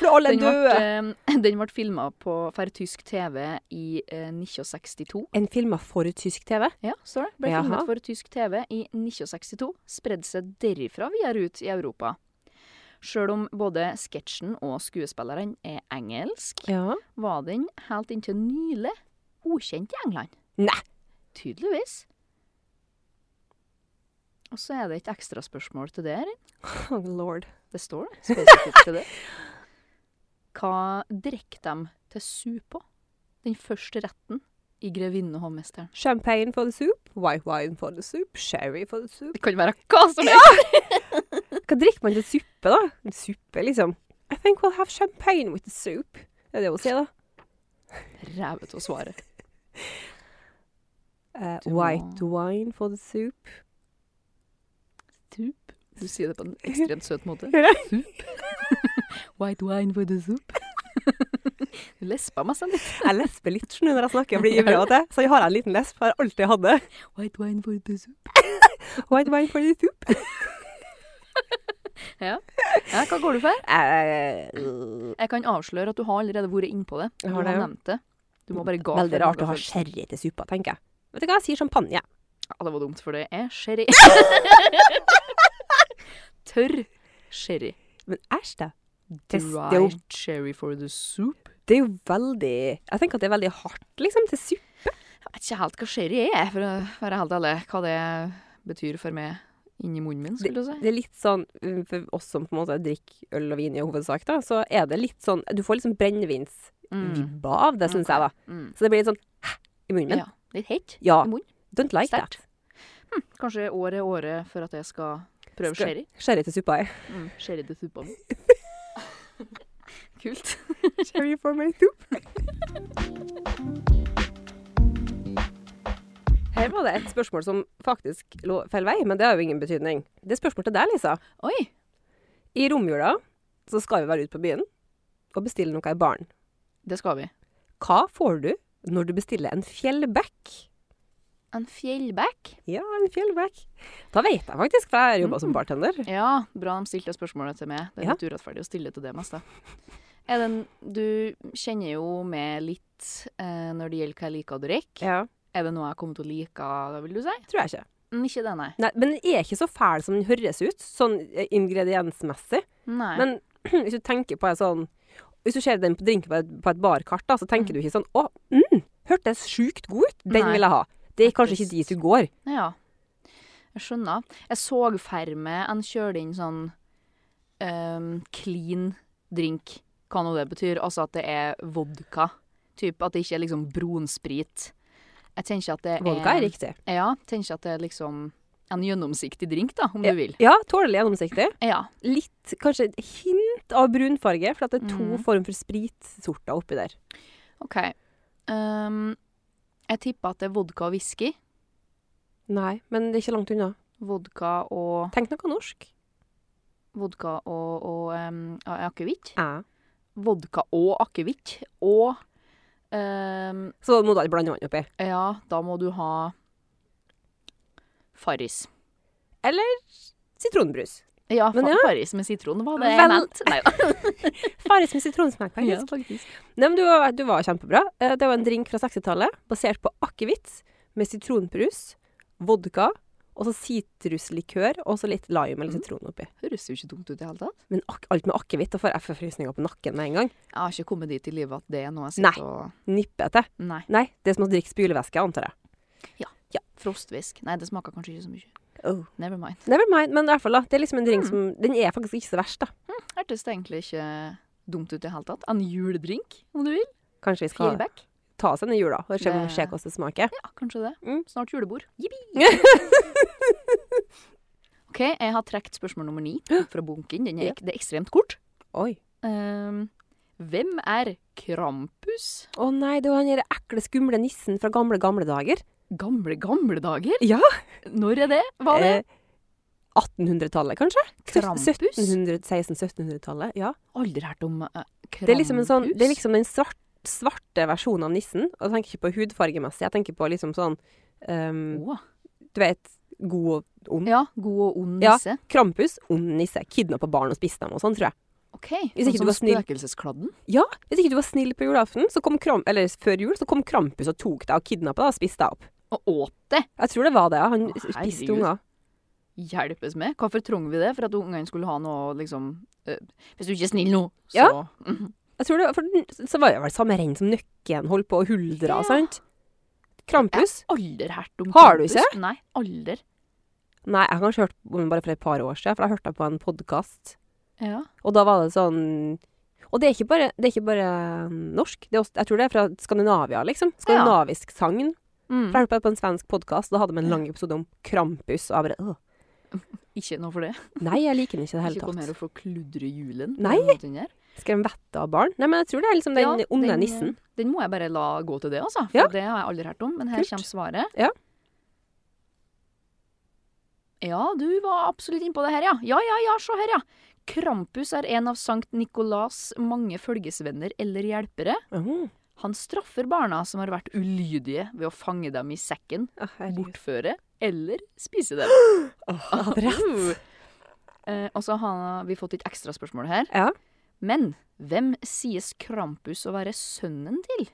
Speaker 2: For alle
Speaker 3: Den
Speaker 2: er døde.
Speaker 3: ble, eh, den ble filma på for tysk TV i eh, 1962.
Speaker 2: En filma for tysk TV?
Speaker 3: Ja, står det. Ble
Speaker 2: Jaha.
Speaker 3: filmet for tysk TV i 1962. Spredde seg derifra videre ut i Europa. Sjøl om både sketsjen og skuespillerne er engelsk,
Speaker 2: Ja.
Speaker 3: var den helt inntil nylig ukjent i England.
Speaker 2: Nei.
Speaker 3: Tydeligvis. Og så er det et ekstraspørsmål til det her.
Speaker 2: Oh, lord.
Speaker 3: Det står det spesifikt til det. Hva drikker de til sup på? Den første retten i 'Grevinnen og hovmesteren'.
Speaker 2: Champagne for the soup, white wine for the soup, sherry for the soup.
Speaker 3: Det kan være hva som helst!
Speaker 2: Hva drikker man til suppe, da? En Suppe, liksom. I think we'll have champagne with the soup. Det er det hun sier, da.
Speaker 3: Rævete å svare.
Speaker 2: Eh,
Speaker 3: Du må-
Speaker 2: white wine for the soup.
Speaker 3: Tup. Du sier det på en ekstremt søt måte.
Speaker 2: Gjør jeg?
Speaker 3: Tup. White wine with a soup. Du lespa meg sånn litt.
Speaker 2: Jeg lesper litt skjønner du, når jeg snakker og blir ivrig av det, så jeg har en liten lesp. Har alltid hatt det.
Speaker 3: White wine with a soup.
Speaker 2: White wine for the soup.
Speaker 3: Ja, hva går du for?
Speaker 2: Eh,
Speaker 3: Jeg kan avsløre at du har allerede vært innpå det.
Speaker 2: Jeg
Speaker 3: Du
Speaker 2: har
Speaker 3: har
Speaker 2: det, ja.
Speaker 3: nevnt det. Du må bare ga
Speaker 2: veldig
Speaker 3: for
Speaker 2: rart
Speaker 3: det.
Speaker 2: å ha sherry til suppa, tenker jeg. Vet du hva, jeg sier champagne.
Speaker 3: Ja, det var dumt, for det er sherry. Tørr sherry.
Speaker 2: Men æsj, da. Det, det, er jo,
Speaker 3: Dried sherry for the soup.
Speaker 2: det er jo veldig Jeg tenker at det er veldig hardt, liksom, til suppe.
Speaker 3: Jeg vet ikke helt hva sherry er, for å være helt ærlig. Hva det betyr for meg inni munnen min, skulle du si.
Speaker 2: Det er litt sånn, um, for oss som på en måte drikker øl og vin i hovedsak, da, så er det litt sånn Du får liksom brennevinsvibba
Speaker 3: Mm.
Speaker 2: av det, syns jeg, da.
Speaker 3: Mm.
Speaker 2: Så det blir litt sånn hæ, i munnen min.
Speaker 3: Ja, litt hett.
Speaker 2: Ja.
Speaker 3: i munnen.
Speaker 2: Don't like
Speaker 3: Sterkt.
Speaker 2: that.
Speaker 3: Hmm, Kanskje året er året for at jeg skal prøve
Speaker 2: Skal-
Speaker 3: sherry.
Speaker 2: Sherry til suppa er
Speaker 3: Mm, sherry til suppa mi. Kult.
Speaker 2: Sherry for my soup. Her var det et spørsmål som faktisk lå feil vei, men det har jo ingen betydning. Det er spørsmål til deg, Lisa.
Speaker 3: Oi.
Speaker 2: I romjula så skal vi være ute på byen og bestille noe i baren.
Speaker 3: Det skal vi.
Speaker 2: Hva får du når du bestiller en fjellback?
Speaker 3: En fjellback.
Speaker 2: Ja, en fjellback. Da vet jeg faktisk, for jeg har jobba som bartender.
Speaker 3: Ja, bra de stilte det spørsmålet til meg. Det er
Speaker 2: Ja.
Speaker 3: litt urettferdig å stille til det meste. Er den, du kjenner jo meg litt eh, når det gjelder hva jeg liker å drikke.
Speaker 2: Ja,
Speaker 3: Er det noe jeg kommer til å like, vil du si?
Speaker 2: Tror jeg ikke.
Speaker 3: Mm, Ikke det, nei.
Speaker 2: Nei, men den er ikke så fæl som den høres ut, sånn eh, ingrediensmessig.
Speaker 3: nei.
Speaker 2: Men hvis du tenker på en sånn Hvis du ser den på drinken på et, på et barkart, da, så tenker du ikke sånn Å, mm, hørtes sjukt god ut! Den
Speaker 3: Nei.
Speaker 2: vil jeg ha. Det er kanskje ikke dit du går.
Speaker 3: Ja, jeg skjønner. Jeg så ferme en kjøler inn sånn ehm, clean drink. Hva nå det betyr. Altså at det er vodka. Typ at det ikke er liksom brunsprit. Jeg tenker at det
Speaker 2: Vodka er riktig.
Speaker 3: Ja, tenker at det er liksom en gjennomsiktig drink, da, om du vil.
Speaker 2: Ja, tålelig gjennomsiktig.
Speaker 3: Ja.
Speaker 2: Litt, kanskje et hint av brunfarge, for at det er to
Speaker 3: Mhm.
Speaker 2: form for spritsorter oppi der.
Speaker 3: OK. Ehm, jeg tipper at det er vodka og whisky.
Speaker 2: Nei, men det er ikke langt unna.
Speaker 3: Vodka og
Speaker 2: Tenk noe norsk.
Speaker 3: Vodka og, og ehm, akevitt.
Speaker 2: Ja.
Speaker 3: Vodka og akevitt. Og ehm,
Speaker 2: Så må du ikke blande vann oppi.
Speaker 3: Ja, da må du ha Farris.
Speaker 2: Sitronbrus.
Speaker 3: Ja,
Speaker 2: Men
Speaker 3: fa-
Speaker 2: ja.
Speaker 3: Farris med sitron var det
Speaker 2: Vel-
Speaker 3: jeg mente. Nei, da.
Speaker 2: Farris med sitronsmak,
Speaker 3: ja,
Speaker 2: faktisk.
Speaker 3: faktisk.
Speaker 2: Nei, men du, var- du var kjempebra. Eh, Det var en drink fra 60-tallet basert på akevitt med sitronbrus, vodka og så sitruslikør og så litt lime eller
Speaker 3: Mm.
Speaker 2: sitron oppi.
Speaker 3: Høres jo ikke dumt ut i det hele tatt.
Speaker 2: Men ak alt med akevitt, da får jeg forfrysninger på nakken med en gang.
Speaker 3: Jeg har ikke kommet dit i livet at det er noe jeg
Speaker 2: Nei.
Speaker 3: sitter og
Speaker 2: Nippete.
Speaker 3: Nei.
Speaker 2: Nei, det er som å drikke spylevæske, antar jeg.
Speaker 3: Frostvisk. Nei, det smaker kanskje ikke så mye.
Speaker 2: Oh.
Speaker 3: Never mind.
Speaker 2: Never mind, men i hvert fall, da. Det er liksom en
Speaker 3: Mm.
Speaker 2: drink som Den er faktisk ikke så verst, da.
Speaker 3: Hørtes det egentlig ikke dumt ut i det hele tatt. En juledrink, om du vil.
Speaker 2: Kanskje vi skal
Speaker 3: Fjellback.
Speaker 2: ta oss en i jula og se om
Speaker 3: Det-
Speaker 2: se hvordan det smaker.
Speaker 3: Ja, kanskje det.
Speaker 2: Mm.
Speaker 3: Snart julebord. Jippi! OK, jeg har trukket spørsmål nummer ni opp fra bunken. Den er, ek- Det er ekstremt kort.
Speaker 2: Oi.
Speaker 3: Ehm, hvem er Krampus?
Speaker 2: Å nei, det var han der ekle, skumle nissen fra gamle, gamle dager.
Speaker 3: Gamle, gamle dager?
Speaker 2: Ja.
Speaker 3: Når er det? Hva er det?
Speaker 2: Eh, 1800-tallet, kanskje?
Speaker 3: Krampus?
Speaker 2: 1700-1600-1700-tallet, ja.
Speaker 3: Aldri hørt om eh, Krampus.
Speaker 2: Det er liksom, en sånn, det er liksom den svart, svarte
Speaker 3: Oh.
Speaker 2: versjonen av nissen. Og jeg tenker ikke på hudfargemessig, jeg tenker på liksom sånn ehm,
Speaker 3: Åh,
Speaker 2: Du vet, god og ond.
Speaker 3: Ja, god og ond
Speaker 2: Ja.
Speaker 3: nisse.
Speaker 2: Krampus, ond nisse. Kidnappa barn og spiste dem og sånn, tror jeg.
Speaker 3: Ok,
Speaker 2: Hvis ikke
Speaker 3: sånn
Speaker 2: du var
Speaker 3: som
Speaker 2: snill.
Speaker 3: spøkelseskladden.
Speaker 2: Ja, hvis ikke du var snill på julaften, så kom Kram eller før jul, så kom Krampus og tok deg og kidnappa deg og spiste deg opp.
Speaker 3: Og åt det.
Speaker 2: Jeg tror det var det, ja. Han
Speaker 3: Å,
Speaker 2: spiste
Speaker 3: herregud.
Speaker 2: unger.
Speaker 3: Hjelpes med. Hvorfor trenger vi det? For at ungene skulle ha noe liksom eh, Hvis du ikke er snill nå, så
Speaker 2: Ja.
Speaker 3: Mhm.
Speaker 2: Jeg tror det, var- for den- Så var det vel samme renn som Nøkken holdt på å huldra,
Speaker 3: Ja.
Speaker 2: sant? Krampus?
Speaker 3: Aldri hørt om
Speaker 2: Har du
Speaker 3: Krampus. Nei, aldri.
Speaker 2: Nei, jeg har kanskje hørt om den bare for et par år siden, for jeg hørte den på en podkast.
Speaker 3: Ja.
Speaker 2: Og da var det sånn Og det er ikke bare, det er ikke bare um, norsk. Det er også, jeg tror det er fra Skandinavia, liksom. Skandinavisk sagn.
Speaker 3: Mm.
Speaker 2: For jeg hørte på det på en svensk podkast, da hadde de en lang episode om Krampus. Og jeg bare «Åh,
Speaker 3: Ikke noe for det.
Speaker 2: Nei, jeg liker den ikke i det
Speaker 3: ikke kom
Speaker 2: hele
Speaker 3: her
Speaker 2: tatt.
Speaker 3: og forkludre julen. på
Speaker 2: Nei.
Speaker 3: den måten her.
Speaker 2: Skremme vettet av barn. Nei, men jeg tror det er liksom den
Speaker 3: Ja, eh,
Speaker 2: onde nissen.
Speaker 3: Den må jeg bare la gå til det, altså. For
Speaker 2: Ja.
Speaker 3: det har jeg aldri hørt om. Men her
Speaker 2: Kult.
Speaker 3: kommer svaret.
Speaker 2: Ja.
Speaker 3: Ja, du var absolutt innpå det her, ja. Ja, ja, ja, se her, ja. Krampus er en av Sankt Nikolas mange følgesvenner eller hjelpere.
Speaker 2: Åh,
Speaker 3: Han straffer barna som har vært ulydige ved å fange dem i sekken,
Speaker 2: å, herregud.
Speaker 3: bortføre eller spise dem.
Speaker 2: Åh, jeg hadde rett.
Speaker 3: Eh, og så har vi fått et ekstra spørsmål her.
Speaker 2: Ja.
Speaker 3: Men hvem sies Krampus å være sønnen til?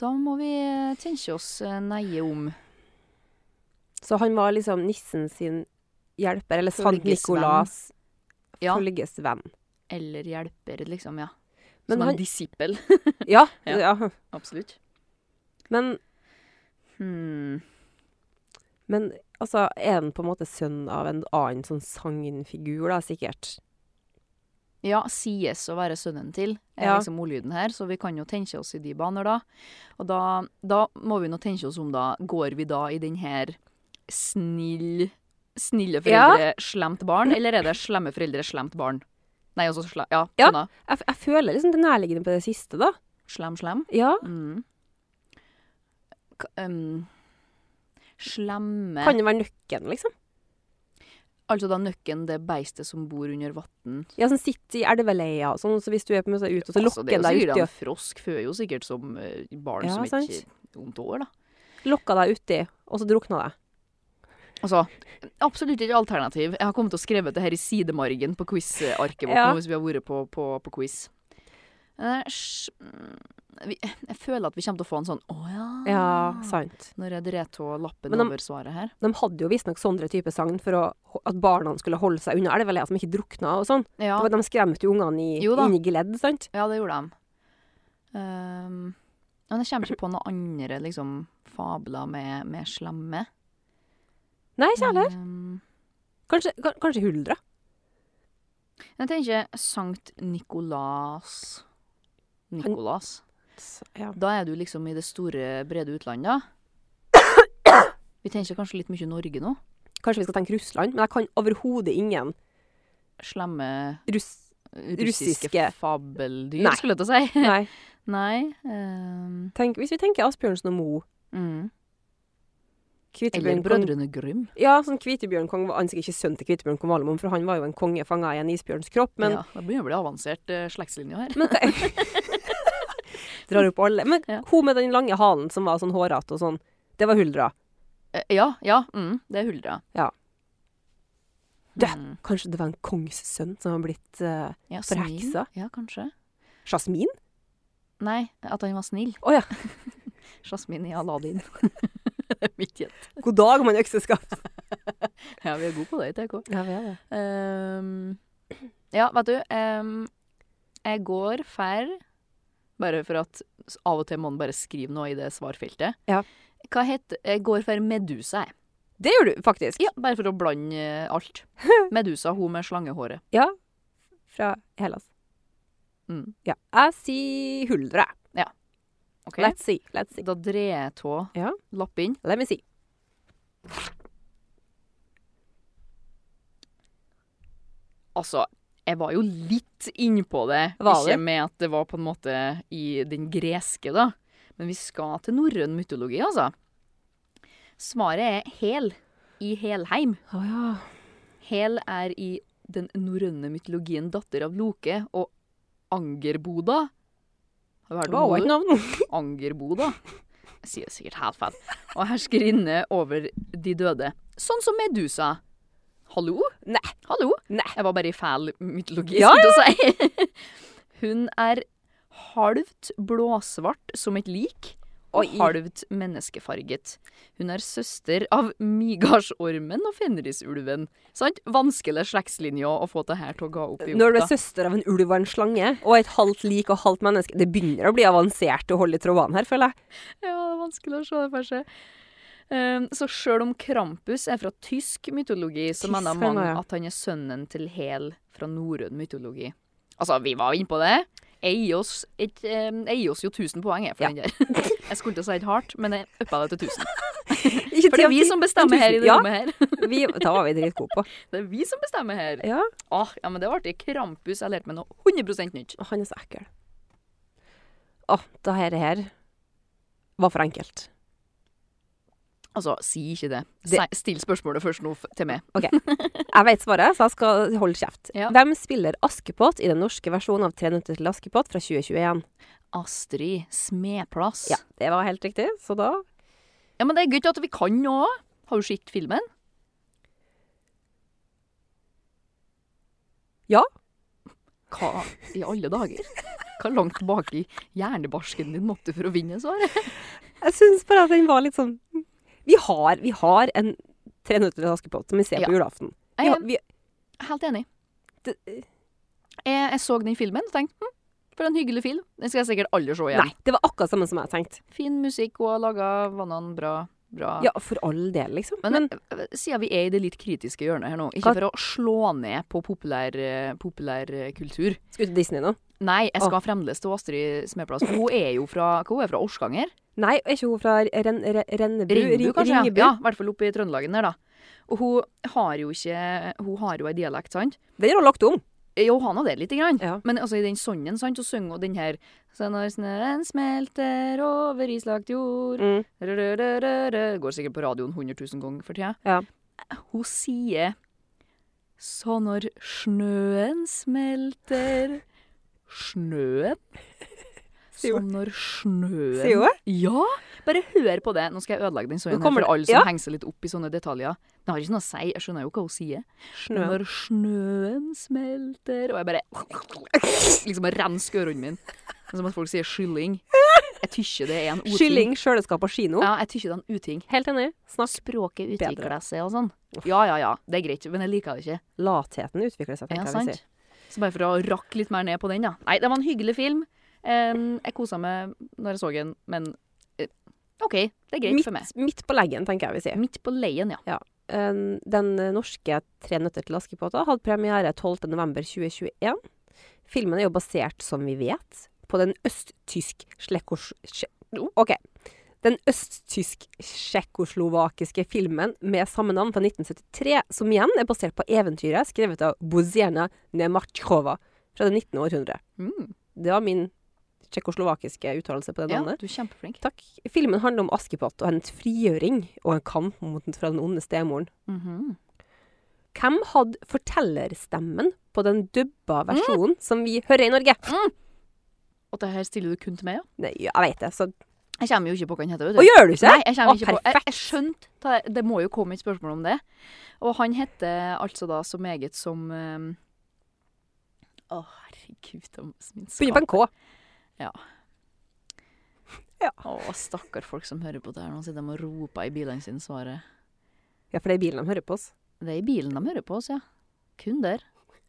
Speaker 3: Da må vi eh, tenke oss eh, nøye om.
Speaker 2: Så han var liksom nissen sin hjelper, eller Sant
Speaker 3: Følgesvenn.
Speaker 2: Nikolas
Speaker 3: Ja.
Speaker 2: følgesvenn.
Speaker 3: Eller hjelper, liksom. ja.
Speaker 2: Men
Speaker 3: Som
Speaker 2: han-
Speaker 3: en disippel.
Speaker 2: Ja,
Speaker 3: Ja.
Speaker 2: ja.
Speaker 3: Absolutt.
Speaker 2: Men,
Speaker 3: Hmm.
Speaker 2: men altså, er han på en måte sønn av en annen sånn sagnfigur, da, sikkert?
Speaker 3: Ja, sies å være sønnen til, er
Speaker 2: Ja.
Speaker 3: liksom ordlyden her, så vi kan jo tenke oss i de baner, da. Og da, da må vi nå tenke oss om, da. Går vi da i den her snill Snille foreldre, slemt barn, eller er det slemme foreldre, slemt barn? Nei, altså sle... Ja,
Speaker 2: Ja.
Speaker 3: sånn da.
Speaker 2: Jeg, f- jeg føler liksom det nærliggende på det siste, da.
Speaker 3: Slem, slem.
Speaker 2: Ja.
Speaker 3: Mm. K ehm, slemme
Speaker 2: Kan det være nøkken, liksom?
Speaker 3: Altså da nøkken, det beistet som bor under vann.
Speaker 2: Ja, som sitter i elveleia og sånn, så hvis du er på en måte ute, og så
Speaker 3: Altså,
Speaker 2: lokker
Speaker 3: det
Speaker 2: den
Speaker 3: er jo
Speaker 2: deg
Speaker 3: sikkert
Speaker 2: uti,
Speaker 3: en frosk, føder jo sikkert som eh, barn
Speaker 2: Ja,
Speaker 3: som
Speaker 2: sant.
Speaker 3: ikke vondt år, da.
Speaker 2: og lokker deg uti, og så drukner deg.
Speaker 3: Altså, absolutt ikke alternativ. Jeg har kommet til å skrevet det her i sidemargen på quiz-arket vårt
Speaker 2: Ja.
Speaker 3: nå, hvis vi har vært på, på, på quiz. Eh, sj- mm, vi, jeg føler at vi kommer til å få en sånn å ja,
Speaker 2: Ja, sant.
Speaker 3: når jeg dreier av lappen
Speaker 2: Men om-
Speaker 3: over svaret her.
Speaker 2: De hadde jo visstnok sånne typer sagn for å, at barna skulle holde seg unna elveleia, så de ikke drukna og sånn.
Speaker 3: Ja,
Speaker 2: Det var- De skremte jo ungene i,
Speaker 3: Jo da.
Speaker 2: inn i geledd, sant?
Speaker 3: ja det gjorde de. Ehm, ja, men jeg kommer ikke på noen andre liksom, fabler med, med slemme.
Speaker 2: Nei, ikke heller.
Speaker 3: Ehm,
Speaker 2: Kanskje, kan- kanskje huldra.
Speaker 3: jeg tenker Sankt Nikolas. Nikolas.
Speaker 2: Ja.
Speaker 3: Da er du liksom i det store, brede utlandet. Vi tenker kanskje litt mye Norge nå.
Speaker 2: Kanskje vi skal tenke Russland, men jeg kan overhodet ingen
Speaker 3: Slemme eh,
Speaker 2: russ...
Speaker 3: russiske,
Speaker 2: Russiske.
Speaker 3: fabeldyr,
Speaker 2: Nei.
Speaker 3: skulle jeg til å si.
Speaker 2: Nei.
Speaker 3: Nei. ehm,
Speaker 2: Tenk, hvis vi tenker Asbjørnsen og Moe,
Speaker 3: mm. Eller
Speaker 2: Kvitebjørn
Speaker 3: Brødrene Grym.
Speaker 2: Ja, sånn Kvitebjørn kong var han sikkert ikke sønn til Kvitebjørn kong Valemon, for han var jo en konge fanga i en isbjørns kropp, men,
Speaker 3: ja, da begynner det å bli avansert eh, slektslinje her.
Speaker 2: men Drar opp alle. Men
Speaker 3: Ja.
Speaker 2: hun med den lange halen som var sånn hårete og sånn, det var Huldra.
Speaker 3: Eh, ja, ja. Mm, det er Huldra.
Speaker 2: Ja. Dødt.
Speaker 3: Mm.
Speaker 2: Kanskje det var en kongssønn som var blitt eh,
Speaker 3: Ja, snill.
Speaker 2: forheksa?
Speaker 3: Ja, kanskje.
Speaker 2: Jasmin?
Speaker 3: Nei, at han var snill.
Speaker 2: Å ja.
Speaker 3: Jasmin i Aladdin. Det er Mitt gjett.
Speaker 2: God dag, mann økseskaft.
Speaker 3: Ja, vi er gode på det i TK.
Speaker 2: Ja, vi er det.
Speaker 3: Ehm, ja, vet du. ehm, jeg går fær Bare for at s- av og til må man bare skrive noe i det svarfeltet.
Speaker 2: Ja.
Speaker 3: Hva heter Jeg går for Medusa, jeg.
Speaker 2: Det gjør du faktisk.
Speaker 3: Ja, bare for å blande eh, alt. Medusa, hun med slangehåret.
Speaker 2: Fra Hellas.
Speaker 3: Mm.
Speaker 2: Ja. Jeg sier Huldra.
Speaker 3: Ok?
Speaker 2: Let's see. Let's see.
Speaker 3: Da dreier jeg tå
Speaker 2: Ja.
Speaker 3: lapp inn.
Speaker 2: Let me see.
Speaker 3: Altså, jeg var jo litt innpå det.
Speaker 2: Var
Speaker 3: Ikke
Speaker 2: det?
Speaker 3: med at det var på en måte i den greske, da. Men vi skal til norrøn mytologi, altså. Svaret er hel i Helheim.
Speaker 2: Å ja.
Speaker 3: Hel er i den norrøne mytologien datter av Loke og Angerboda. Har du hørt
Speaker 2: Wow,
Speaker 3: om
Speaker 2: et
Speaker 3: henne?
Speaker 2: navn.
Speaker 3: Angerboda? Jeg sier det sikkert helt feil. Og herskerinne over de døde. Sånn som Medusa. Hallo?
Speaker 2: Nei.
Speaker 3: Hallo?
Speaker 2: Nei.
Speaker 3: Jeg var bare i fæl mytologi,
Speaker 2: Ja,
Speaker 3: skulle jeg til å si. Hun er halvt blåsvart som et lik, og
Speaker 2: Oi.
Speaker 3: halvt menneskefarget. Hun er søster av migardsormen og fenrisulven. Sant? Vanskelig slektslinje å å få det her til å gå opp i
Speaker 2: Når du er
Speaker 3: opp.
Speaker 2: søster av en ulv og en slange, og et halvt lik og halvt menneske Det begynner å bli avansert å holde i trådene her, føler jeg.
Speaker 3: Ja, det er vanskelig å se det for seg. Ehm, Så sjøl om Krampus er fra tysk mytologi, så
Speaker 2: Tysk,
Speaker 3: mener
Speaker 2: han var,
Speaker 3: mange
Speaker 2: ja.
Speaker 3: at han er sønnen til Hel fra norrøn mytologi. Altså, vi var inne på det. Jeg gir oss, et, ehm, jeg gir oss jo 1000 poeng, jeg, for
Speaker 2: Ja.
Speaker 3: den der. Jeg skulle til å si et hardt, men jeg uppa det til 1000.
Speaker 2: Ikke
Speaker 3: For det er vi som bestemmer her i det
Speaker 2: Ja.
Speaker 3: rommet her.
Speaker 2: vi, Da var vi dritgode på.
Speaker 3: Det er vi som bestemmer her.
Speaker 2: Ja.
Speaker 3: Åh, ja, men det var artig. Krampus, jeg lærte meg noe 100 nytt.
Speaker 2: Å, Han er så ekkel. Å, det her, det her var for enkelt.
Speaker 3: Altså, si ikke det.
Speaker 2: Det-
Speaker 3: Si- Still spørsmålet først nå f- til meg.
Speaker 2: Jeg vet svaret, så jeg skal holde kjeft.
Speaker 3: Ja.
Speaker 2: Hvem spiller Askepott i den norske versjonen av Tre nøtter til Askepott fra 2021?
Speaker 3: Astrid Smeplass.
Speaker 2: Ja, det var helt riktig, så da
Speaker 3: Ja, men det er gøy at vi kan nå. Har du sett filmen?
Speaker 2: Ja.
Speaker 3: Hva i alle dager? Hva langt bak i hjernebarsken din måtte for å vinne svaret?
Speaker 2: Jeg syns bare at den var litt sånn Vi har, vi har en Tre nøtter til Askepott som vi ser
Speaker 3: Ja.
Speaker 2: på julaften. Vi,
Speaker 3: Jeg
Speaker 2: har-
Speaker 3: er
Speaker 2: vi,
Speaker 3: helt enig.
Speaker 2: det,
Speaker 3: Jeg, jeg så den filmen og tenkte hm, for en hyggelig film. Den skal jeg sikkert aldri se igjen.
Speaker 2: nei, det var akkurat samme som jeg tenkte.
Speaker 3: Fin musikk, hun har laga vannene bra. bra.
Speaker 2: Ja, for all del, liksom. Men,
Speaker 3: Men, eh, siden vi er i det litt kritiske hjørnet her nå, ikke
Speaker 2: Hva-
Speaker 3: for å slå ned på populær, eh, populær eh, kultur
Speaker 2: skal du til Disney nå?
Speaker 3: Nei, jeg skal fremdeles til Astrid Smeplass. for Hun er jo fra, hva hun er fra Orskanger.
Speaker 2: Nei, er ikke hun fra Ren, Ren, Rennebu? Ri-
Speaker 3: Ringebu, kanskje?
Speaker 2: Ringebu?
Speaker 3: Ja, i hvert fall oppe i Trøndelagen der, da. Og hun har jo ikke Hun har jo ei dialekt, sant? Eh,
Speaker 2: Den har hun lagt om.
Speaker 3: Jo, hun har nå det lite grann.
Speaker 2: Ja.
Speaker 3: Men altså, i den sangen, sant, så synger hun den her Så når snøen smelter over islagt jord
Speaker 2: Mm.
Speaker 3: rø-rø-rø-rø», Går sikkert på radioen 100 000 ganger for tida.
Speaker 2: Ja.
Speaker 3: Hun sier Så når snøen smelter Snøen?
Speaker 2: Sier
Speaker 3: Som
Speaker 2: hun.
Speaker 3: når snøen
Speaker 2: Sier hun?
Speaker 3: ja! Bare hør på det. Nå skal jeg ødelegge den sangen
Speaker 2: Nå
Speaker 3: her
Speaker 2: kommer
Speaker 3: for
Speaker 2: det-
Speaker 3: alle som
Speaker 2: ja.
Speaker 3: henger seg litt opp i sånne detaljer. Det har ikke noe å si. Jeg skjønner jo hva hun sier.
Speaker 2: Snø.
Speaker 3: Når snøen smelter Og jeg bare liksom rensker ørene mine. Det er Som at folk sier skylling. Jeg tykker det er en uting.
Speaker 2: Kylling, kjøleskap og kino.
Speaker 3: Ja, jeg tykker det er en uting.
Speaker 2: Helt enig. Snakk.
Speaker 3: Språket
Speaker 2: Bedre.
Speaker 3: utvikler seg og sånn. Ja, ja, ja. Det er greit, men jeg liker det ikke.
Speaker 2: Latheten utvikler seg,
Speaker 3: Ja,
Speaker 2: tenker jeg vi
Speaker 3: sant?
Speaker 2: sier.
Speaker 3: Så bare for å rakke litt mer ned på den, da. Nei, det var en hyggelig film. Em, jeg kosa meg når jeg så den, men eh, OK, det er greit for meg.
Speaker 2: Midt, midt på leggen, tenker jeg vi sier.
Speaker 3: Midt på leien, ja.
Speaker 2: Eh, Den norske Tre nøtter til Askepott da hadde premiere 12.11.2021. Filmen er jo basert, som vi vet, på den østtysk slekos... sje- OK. Den østtysk-tsjekkoslovakiske filmen med samme navn fra 1973, som igjen er basert på eventyret skrevet av Bozena Nematjkova fra det 19. århundre.
Speaker 3: Mm.
Speaker 2: Det var min tsjekkoslovakiske uttalelse på det
Speaker 3: ja
Speaker 2: navnet.
Speaker 3: du er kjempeflink.
Speaker 2: Takk. Filmen handler om Askepott og hennes frigjøring og en kamp mot fra den onde stemoren.
Speaker 3: Mhm.
Speaker 2: Hvem hadde fortellerstemmen på den dubba versjonen som vi hører i Norge?
Speaker 3: Og det her stiller du kun til meg, ja?
Speaker 2: Nei, jeg veit det, så
Speaker 3: Jeg kommer jo ikke på hva han heter. vet du.
Speaker 2: Å, gjør du ikke?
Speaker 3: Nei, jeg
Speaker 2: Å,
Speaker 3: kommer ikke på Jeg,
Speaker 2: perfekt.
Speaker 3: jeg skjønte det. Det må jo komme et spørsmål om det. Og han heter altså da så meget som ehm, Å, herregud, det er min
Speaker 2: Begynner på en K.
Speaker 3: Å, stakkar folk som hører på det her nå, sitter de og roper i bilene sine svaret.
Speaker 2: Ja, for det er bilen de hører på oss.
Speaker 3: Det er i bilen de hører på oss, ja. Kun der.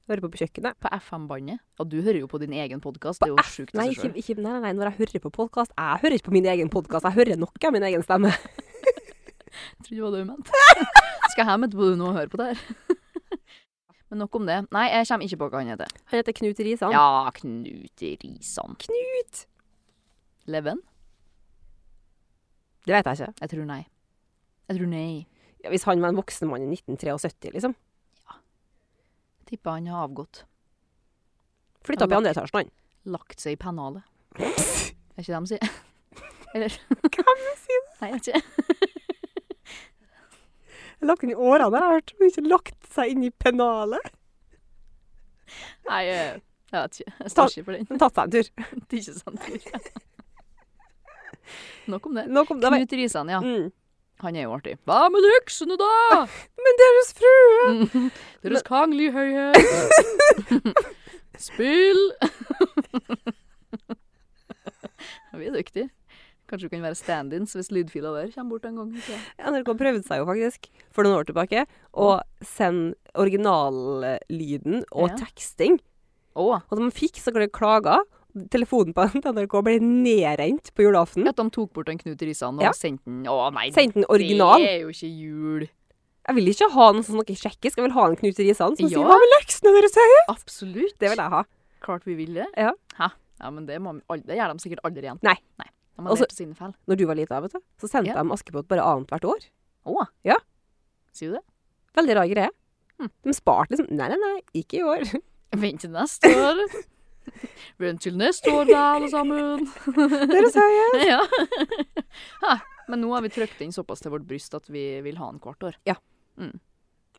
Speaker 2: Hører på på kjøkkenet.
Speaker 3: På FM-bandet. Og du hører jo på din egen podkast, det er jo sjukt
Speaker 2: Nei,
Speaker 3: i seg
Speaker 2: ikke,
Speaker 3: sjøl.
Speaker 2: ikke, nei, nei, når jeg hører på podkast Jeg hører ikke på min egen podkast, jeg hører noe av min egen stemme.
Speaker 3: Jeg trodde det var det hun mente. Skal hjem etterpå nå og høre på det her. Men nok om det. Nei, jeg kommer ikke på hva han heter.
Speaker 2: Han heter Knut Risan.
Speaker 3: Ja, Knut Risan.
Speaker 2: Knut!
Speaker 3: Leven?
Speaker 2: Det vet jeg ikke.
Speaker 3: Jeg tror nei. Jeg tror nei.
Speaker 2: Ja, hvis han var en voksen mann i 1973, liksom.
Speaker 3: Jeg tipper han har avgått.
Speaker 2: Flytta opp i andre etasjen, han.
Speaker 3: Lagt seg i pennalet. Er ikke det de sier? Eller?
Speaker 2: Hvem sier det?
Speaker 3: Nei, jeg vet ikke.
Speaker 2: Lagt inn i årene, jeg har hørt. Men ikke lagt seg inn i pennalet.
Speaker 3: Nei, jeg jeg vet ikke. Jeg står ikke for den.
Speaker 2: Men tatt seg en tur.
Speaker 3: Det er ikke sant. Nok om det.
Speaker 2: Nå kom det av
Speaker 3: Knut Risan, ja.
Speaker 2: mm.
Speaker 3: Han er jo artig. Hva med øksene, da?
Speaker 2: Men deres frue!
Speaker 3: Deres kongelige høyhet. Spill! Vi er dyktige. Kanskje du kan være stand-ins hvis lydfila der kommer bort en gang. ikke sant?
Speaker 2: NRK prøvde seg jo faktisk for noen år tilbake å sende originallyden og
Speaker 3: Ja.
Speaker 2: teksting.
Speaker 3: Å,
Speaker 2: Og de fikk så klart klager. Telefonen på NRK ble nedrent på julaften.
Speaker 3: at de tok bort den Knut Risan og
Speaker 2: Ja.
Speaker 3: sendte den Å nei,
Speaker 2: Sendte den original.
Speaker 3: det er jo ikke jul.
Speaker 2: Jeg vil ikke ha noen som noe sånn sjekkisk. Jeg vil ha en Knut Risan som
Speaker 3: Ja.
Speaker 2: sier 'hva med leksene dere sier?'
Speaker 3: Absolutt.
Speaker 2: Det vil jeg ha.
Speaker 3: Klart vi vil det.
Speaker 2: Ja.
Speaker 3: Hæ? Ja, men det, må, al- det gjør de sikkert aldri igjen.
Speaker 2: Nei.
Speaker 3: De har
Speaker 2: Altså-
Speaker 3: lært sine feil.
Speaker 2: Når du var lita, vet du, så sendte
Speaker 3: Ja.
Speaker 2: de Askepott bare annethvert år.
Speaker 3: Å.
Speaker 2: Ja.
Speaker 3: Sier du det?
Speaker 2: Veldig rar greie.
Speaker 3: Hm.
Speaker 2: De sparte liksom Nei, nei, nei, ikke i år.
Speaker 3: Vent til neste år. Vent til neste år, da, alle sammen.
Speaker 2: Dere sier ja.
Speaker 3: ja. Ha, Men nå har vi trykt inn såpass til vårt bryst at vi vil ha den hvert år.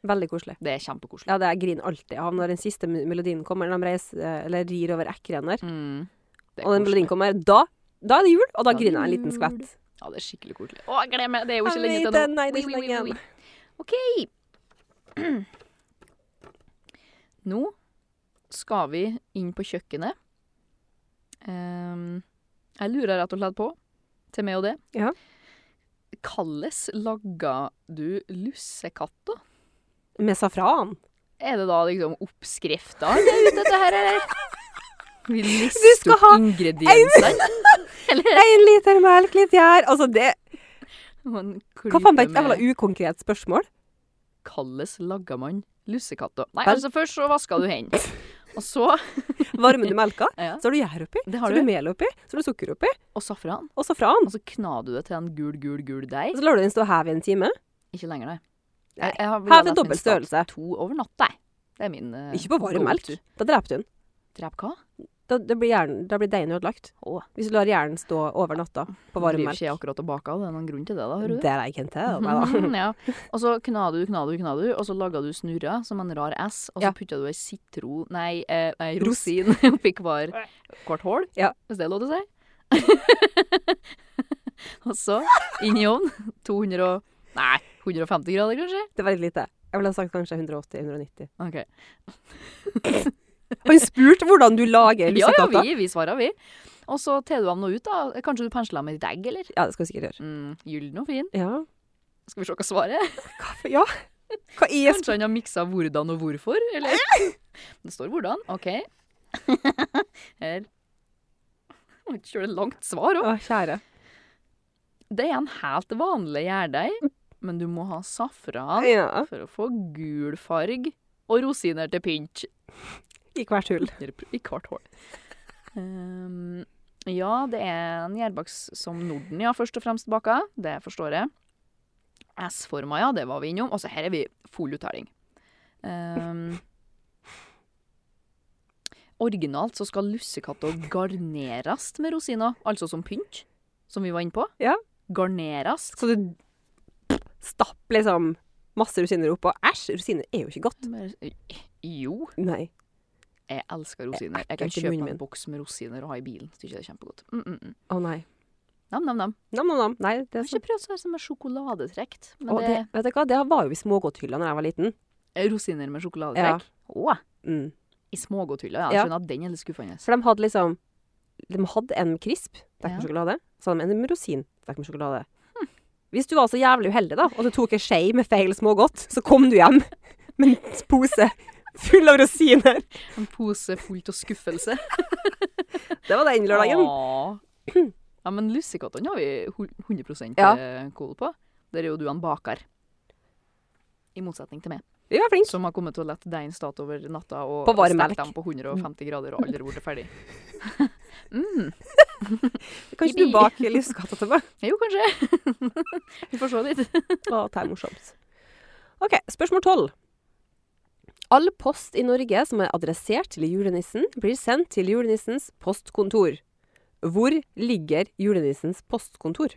Speaker 2: Veldig koselig.
Speaker 3: Det er kjempekoselig.
Speaker 2: Ja, det jeg griner alltid av når den siste me- melodien kommer, når de reiser, eh, eller rir over Ekkerøyen der.
Speaker 3: Mm. Det er
Speaker 2: Og den melodien
Speaker 3: koselig.
Speaker 2: kommer, da, da er det jul, og da
Speaker 3: Da er det
Speaker 2: griner jeg en liten
Speaker 3: jul.
Speaker 2: skvett.
Speaker 3: Ja, det er skikkelig koselig. Å, jeg gleder meg! Det er jo
Speaker 2: Jeg
Speaker 3: ikke lenge
Speaker 2: vet
Speaker 3: til
Speaker 2: det.
Speaker 3: nå.
Speaker 2: Nei, det er
Speaker 3: Oi,
Speaker 2: ikke
Speaker 3: oi,
Speaker 2: lenge
Speaker 3: oi, oi. OK. Nå skal vi inn på kjøkkenet. Ehm, jeg lurer rett og slett på, til meg og det
Speaker 2: Ja.
Speaker 3: Hvordan laga du lussekatter?
Speaker 2: Med safran.
Speaker 3: Er det da liksom oppskrifta du er ute etter her, eller? Vi
Speaker 2: skal
Speaker 3: lister opp
Speaker 2: ha
Speaker 3: ingrediensene. Eller
Speaker 2: En liter melk, litt gjær. Altså, det
Speaker 3: Og en
Speaker 2: Hva faen, det er
Speaker 3: klype
Speaker 2: et jævla
Speaker 3: med-
Speaker 2: ukonkret spørsmål.
Speaker 3: Hvordan lager man lussekatter? Nei,
Speaker 2: Vel-
Speaker 3: altså først så vasker du hendene. Og så
Speaker 2: Varmer du melka,
Speaker 3: Ja.
Speaker 2: så har du gjær oppi,
Speaker 3: Det
Speaker 2: så
Speaker 3: har
Speaker 2: har du
Speaker 3: du.
Speaker 2: mel oppi, så har du sukker oppi,
Speaker 3: Og safran.
Speaker 2: og safran.
Speaker 3: Og så knar du det til en gul, gul, gul
Speaker 2: Og
Speaker 3: deig.
Speaker 2: så lar du den stå hev i en time.
Speaker 3: Ikke lenger, nei.
Speaker 2: Nei,
Speaker 3: Jeg- jeg har- vil
Speaker 2: Hev
Speaker 3: ha
Speaker 2: til
Speaker 3: nesten
Speaker 2: dobbelt
Speaker 3: en
Speaker 2: størrelse.
Speaker 3: stat- To over natt, nei. Det er min uh,
Speaker 2: Ikke på varm melk. Da dreper du den.
Speaker 3: Drep hva?
Speaker 2: Da, da blir, hjernen- da blir deigen ødelagt.
Speaker 3: Å.
Speaker 2: Hvis du lar hjernen stå over natta på varm
Speaker 3: Driver
Speaker 2: melk.
Speaker 3: ikke jeg akkurat og baker, det er noen grunn til det, da, hører du?
Speaker 2: Det er jeg ikke en til. Nei da.
Speaker 3: Mhm, ja. Og så kna du, kna du, kna du, og så laga du snurra som en rar S, og så
Speaker 2: Ja.
Speaker 3: putta du ei sitron Nei, eh, ei
Speaker 2: Ros.
Speaker 3: rosin oppi hver, hvert hull,
Speaker 2: Ja.
Speaker 3: hvis det er lov til å si. og så inn i ovnen. 200 og Nei, 150 grader, kanskje?
Speaker 2: Det er veldig lite. Jeg ville ha sagt kanskje 180-190.
Speaker 3: Ok.
Speaker 2: Han spurte hvordan du lager
Speaker 3: Ja, ja,
Speaker 2: lussekatter.
Speaker 3: vi, vi svarer, vi. Og så tar du dem nå ut, da. Kanskje du pensler dem med litt egg, eller?
Speaker 2: Ja, det skal vi sikkert gjøre.
Speaker 3: Mm, Gyllen og fin.
Speaker 2: Ja.
Speaker 3: Skal vi se hva svaret er?
Speaker 2: Hva, for- ja. Hva er sp-
Speaker 3: Kanskje han har miksa hvordan og hvorfor, eller? Det står hvordan, ok. Her. Må ikke kjøre et langt svar òg.
Speaker 2: Å, kjære.
Speaker 3: Det er en helt vanlig gjærdeig, men du må ha safran
Speaker 2: Ja.
Speaker 3: for å få gul farg og rosiner til pynt
Speaker 2: I hvert hull.
Speaker 3: i hvert hull. Ehm, ja, det er en gjærbaks som Norden, ja, først og fremst baka. Det forstår jeg. S-forma, ja, det var vi innom. Og så her er vi full uttelling. Ehm, originalt så skal lussekatter garneres med rosiner, altså som pynt, som vi var inne på.
Speaker 2: Ja.
Speaker 3: Garneres.
Speaker 2: Så du stapp liksom masse rosiner oppå. Æsj, rosiner er jo ikke godt.
Speaker 3: Jo,
Speaker 2: Nei.
Speaker 3: jeg elsker rosiner.
Speaker 2: Jeg
Speaker 3: Jeg kan
Speaker 2: erter
Speaker 3: kjøpe
Speaker 2: munnen
Speaker 3: en
Speaker 2: min.
Speaker 3: boks med rosiner og ha i bilen. Syns det er kjempegodt. Mm, mm, mm.
Speaker 2: Å nei.
Speaker 3: Nam, nam, nam.
Speaker 2: Nam, nam, nam. Nei, det er
Speaker 3: Jeg har ikke prøvd sånn som er sjokoladetrekk. Men
Speaker 2: Å, det, vet du hva? det var jo i smågodthylla da jeg var liten.
Speaker 3: det er rosiner med sjokoladetrekk. Å,
Speaker 2: Mm.
Speaker 3: i smågodthylla. Ja.
Speaker 2: Ja.
Speaker 3: Jeg skjønner at den er litt skuffende.
Speaker 2: For de hadde liksom De hadde en med crisp, det er ikke
Speaker 3: Ja. Hm.
Speaker 2: med sjokolade. Så hadde de en med rosin, det er ikke med sjokolade. Hvis du var så jævlig uheldig, da, og du tok en skje med feil smågodt, så kom du hjem med en pose full av rosiner.
Speaker 3: En pose fullt av skuffelse.
Speaker 2: Det var den lørdagen.
Speaker 3: Åh. Ja, men lussekattene har vi hu- 100
Speaker 2: Ja.
Speaker 3: eh, koll på. Der er jo du en baker. I motsetning til meg,
Speaker 2: Vi var flinke.
Speaker 3: som har kommet til å lette deigen stå over natta og
Speaker 2: På varm
Speaker 3: og
Speaker 2: melk.
Speaker 3: stekt dem på 150 grader og aldri blitt ferdig.
Speaker 2: Kan ikke du bake lussekatter til meg?
Speaker 3: Jo, kanskje. vi får se litt.
Speaker 2: Å, det er morsomt. OK, spørsmål tolv. All post i Norge som er adressert til julenissen, blir sendt til julenissens postkontor. Hvor ligger julenissens postkontor?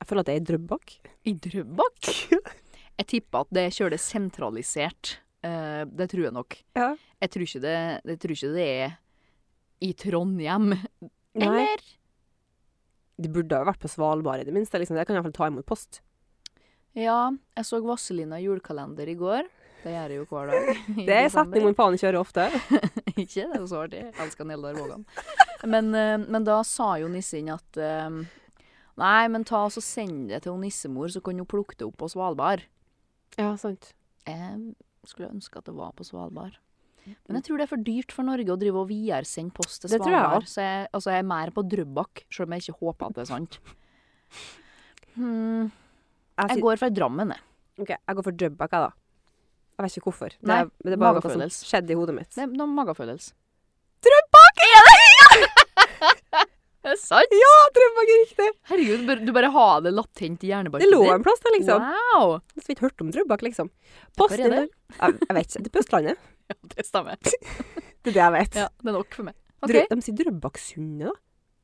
Speaker 2: Jeg føler at det er i Drøbak.
Speaker 3: I Drøbak? Jeg tipper at det kjører det sentralisert. Eh, det tror jeg nok.
Speaker 2: Ja.
Speaker 3: Jeg tror ikke det, jeg tror ikke det er i Trondheim.
Speaker 2: Nei.
Speaker 3: Eller
Speaker 2: De burde ha vært på Svalbard i det minste. Liksom. Jeg kan iallfall ta imot post.
Speaker 3: Ja, jeg så Vazelina julekalender i går. Det gjør jeg jo hver dag. i
Speaker 2: Det er
Speaker 3: desember.
Speaker 2: setning min faen ikke hører ofte.
Speaker 3: Ikke? Det er jo så artig. Jeg elsker Neldar Vågan. Men, eh, men da sa jo nissen at eh, Nei, men ta og så send det til hun nissemor, så kan hun plukke det opp på Svalbard.
Speaker 2: Ja, sant.
Speaker 3: Jeg skulle ønske at det var på Svalbard. Men jeg tror det er for dyrt for Norge å drive og videresende post til
Speaker 2: Det tror jeg
Speaker 3: Svalbard. Så jeg, altså jeg er mer på Drøbak, selv om jeg ikke håper at det er sant. Hmm,
Speaker 2: Jeg,
Speaker 3: jeg
Speaker 2: går,
Speaker 3: går for Drammen, jeg.
Speaker 2: jeg går for Drøbak, jeg, da. Jeg vet ikke hvorfor. Det
Speaker 3: Nei,
Speaker 2: er, det er bare noe som
Speaker 3: magefølelse.
Speaker 2: skjedde i hodet mitt.
Speaker 3: Det er noen magefølelse.
Speaker 2: Drøbak er det!
Speaker 3: Det er sant!
Speaker 2: Ja, Drøbak er riktig!
Speaker 3: Herregud, bør- du bare har det latent i hjernebarken
Speaker 2: Det lå en plass der, liksom.
Speaker 3: Wow!
Speaker 2: Så vidt hørt om Drøbak, liksom. Post
Speaker 3: er det?
Speaker 2: inn- Jeg, jeg vet ikke. Det er på Østlandet.
Speaker 3: Det stemmer.
Speaker 2: Det er det jeg vet.
Speaker 3: Ja, det er nok for meg. Ok,
Speaker 2: Drø- De sier Drøbaksundet, da.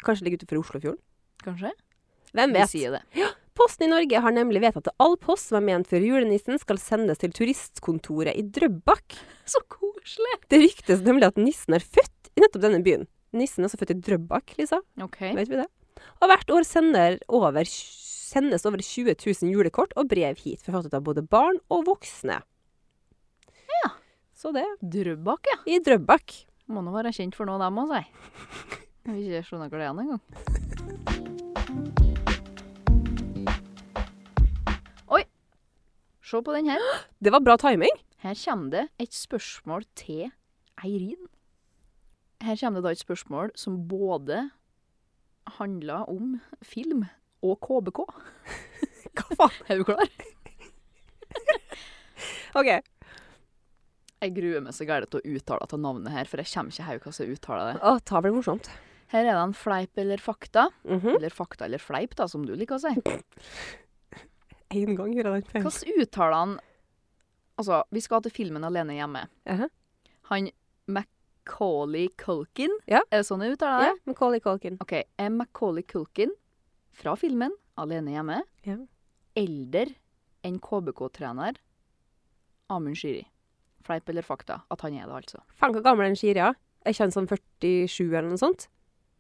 Speaker 2: Kanskje det ligger utenfor Oslofjorden?
Speaker 3: kanskje?
Speaker 2: Hvem
Speaker 3: Vi
Speaker 2: vet?
Speaker 3: sier det.
Speaker 2: Posten i Norge har nemlig vedtatt at all post som er ment for julenissen, skal sendes til turistkontoret i Drøbak.
Speaker 3: Så koselig!
Speaker 2: Det ryktes nemlig at nissen er født i nettopp denne byen. Nissen er også født i Drøbak, Lisa.
Speaker 3: Ok.
Speaker 2: Vet vi det? Og hvert år sender over, sendes over 20 000 julekort og brev hit, forfattet av både barn og voksne.
Speaker 3: Ja.
Speaker 2: Så det
Speaker 3: Drøbak, ja.
Speaker 2: i Drøbak.
Speaker 3: Må nå være kjent for noe, dem òg, si. Jeg vil ikke skjønne hva det er en gang. Oi! Se på den her.
Speaker 2: Det var bra timing.
Speaker 3: Her kommer det et spørsmål til Eirin. Her kommer det da et spørsmål som både handler om film og KBK.
Speaker 2: Hva faen?
Speaker 3: Er du klar?
Speaker 2: OK.
Speaker 3: Jeg gruer meg så gærent til å uttale dette navnet her, for jeg kommer ikke her hvordan jeg uttaler det.
Speaker 2: Å, ta blir morsomt.
Speaker 3: Her er det en fleip eller fakta.
Speaker 2: Mhm.
Speaker 3: Eller fakta eller fleip, da, som du liker å si.
Speaker 2: Én gang gjorde jeg den feilen.
Speaker 3: Hvordan uttaler han Altså, vi skal til filmen 'Alene hjemme'.
Speaker 2: Jaha.
Speaker 3: Han Macaulay Culkin,
Speaker 2: Ja.
Speaker 3: er det sånn jeg uttaler det?
Speaker 2: Ja, Macaulay Culkin.
Speaker 3: OK. Er Macaulay Culkin fra filmen 'Alene hjemme'
Speaker 2: Ja.
Speaker 3: eldre enn KBK-trener Amund Shiri? Fleip eller fakta? At han er det, altså.
Speaker 2: Faen, hvor gammel er den Shiria? Er ikke han sånn 47 eller noe sånt?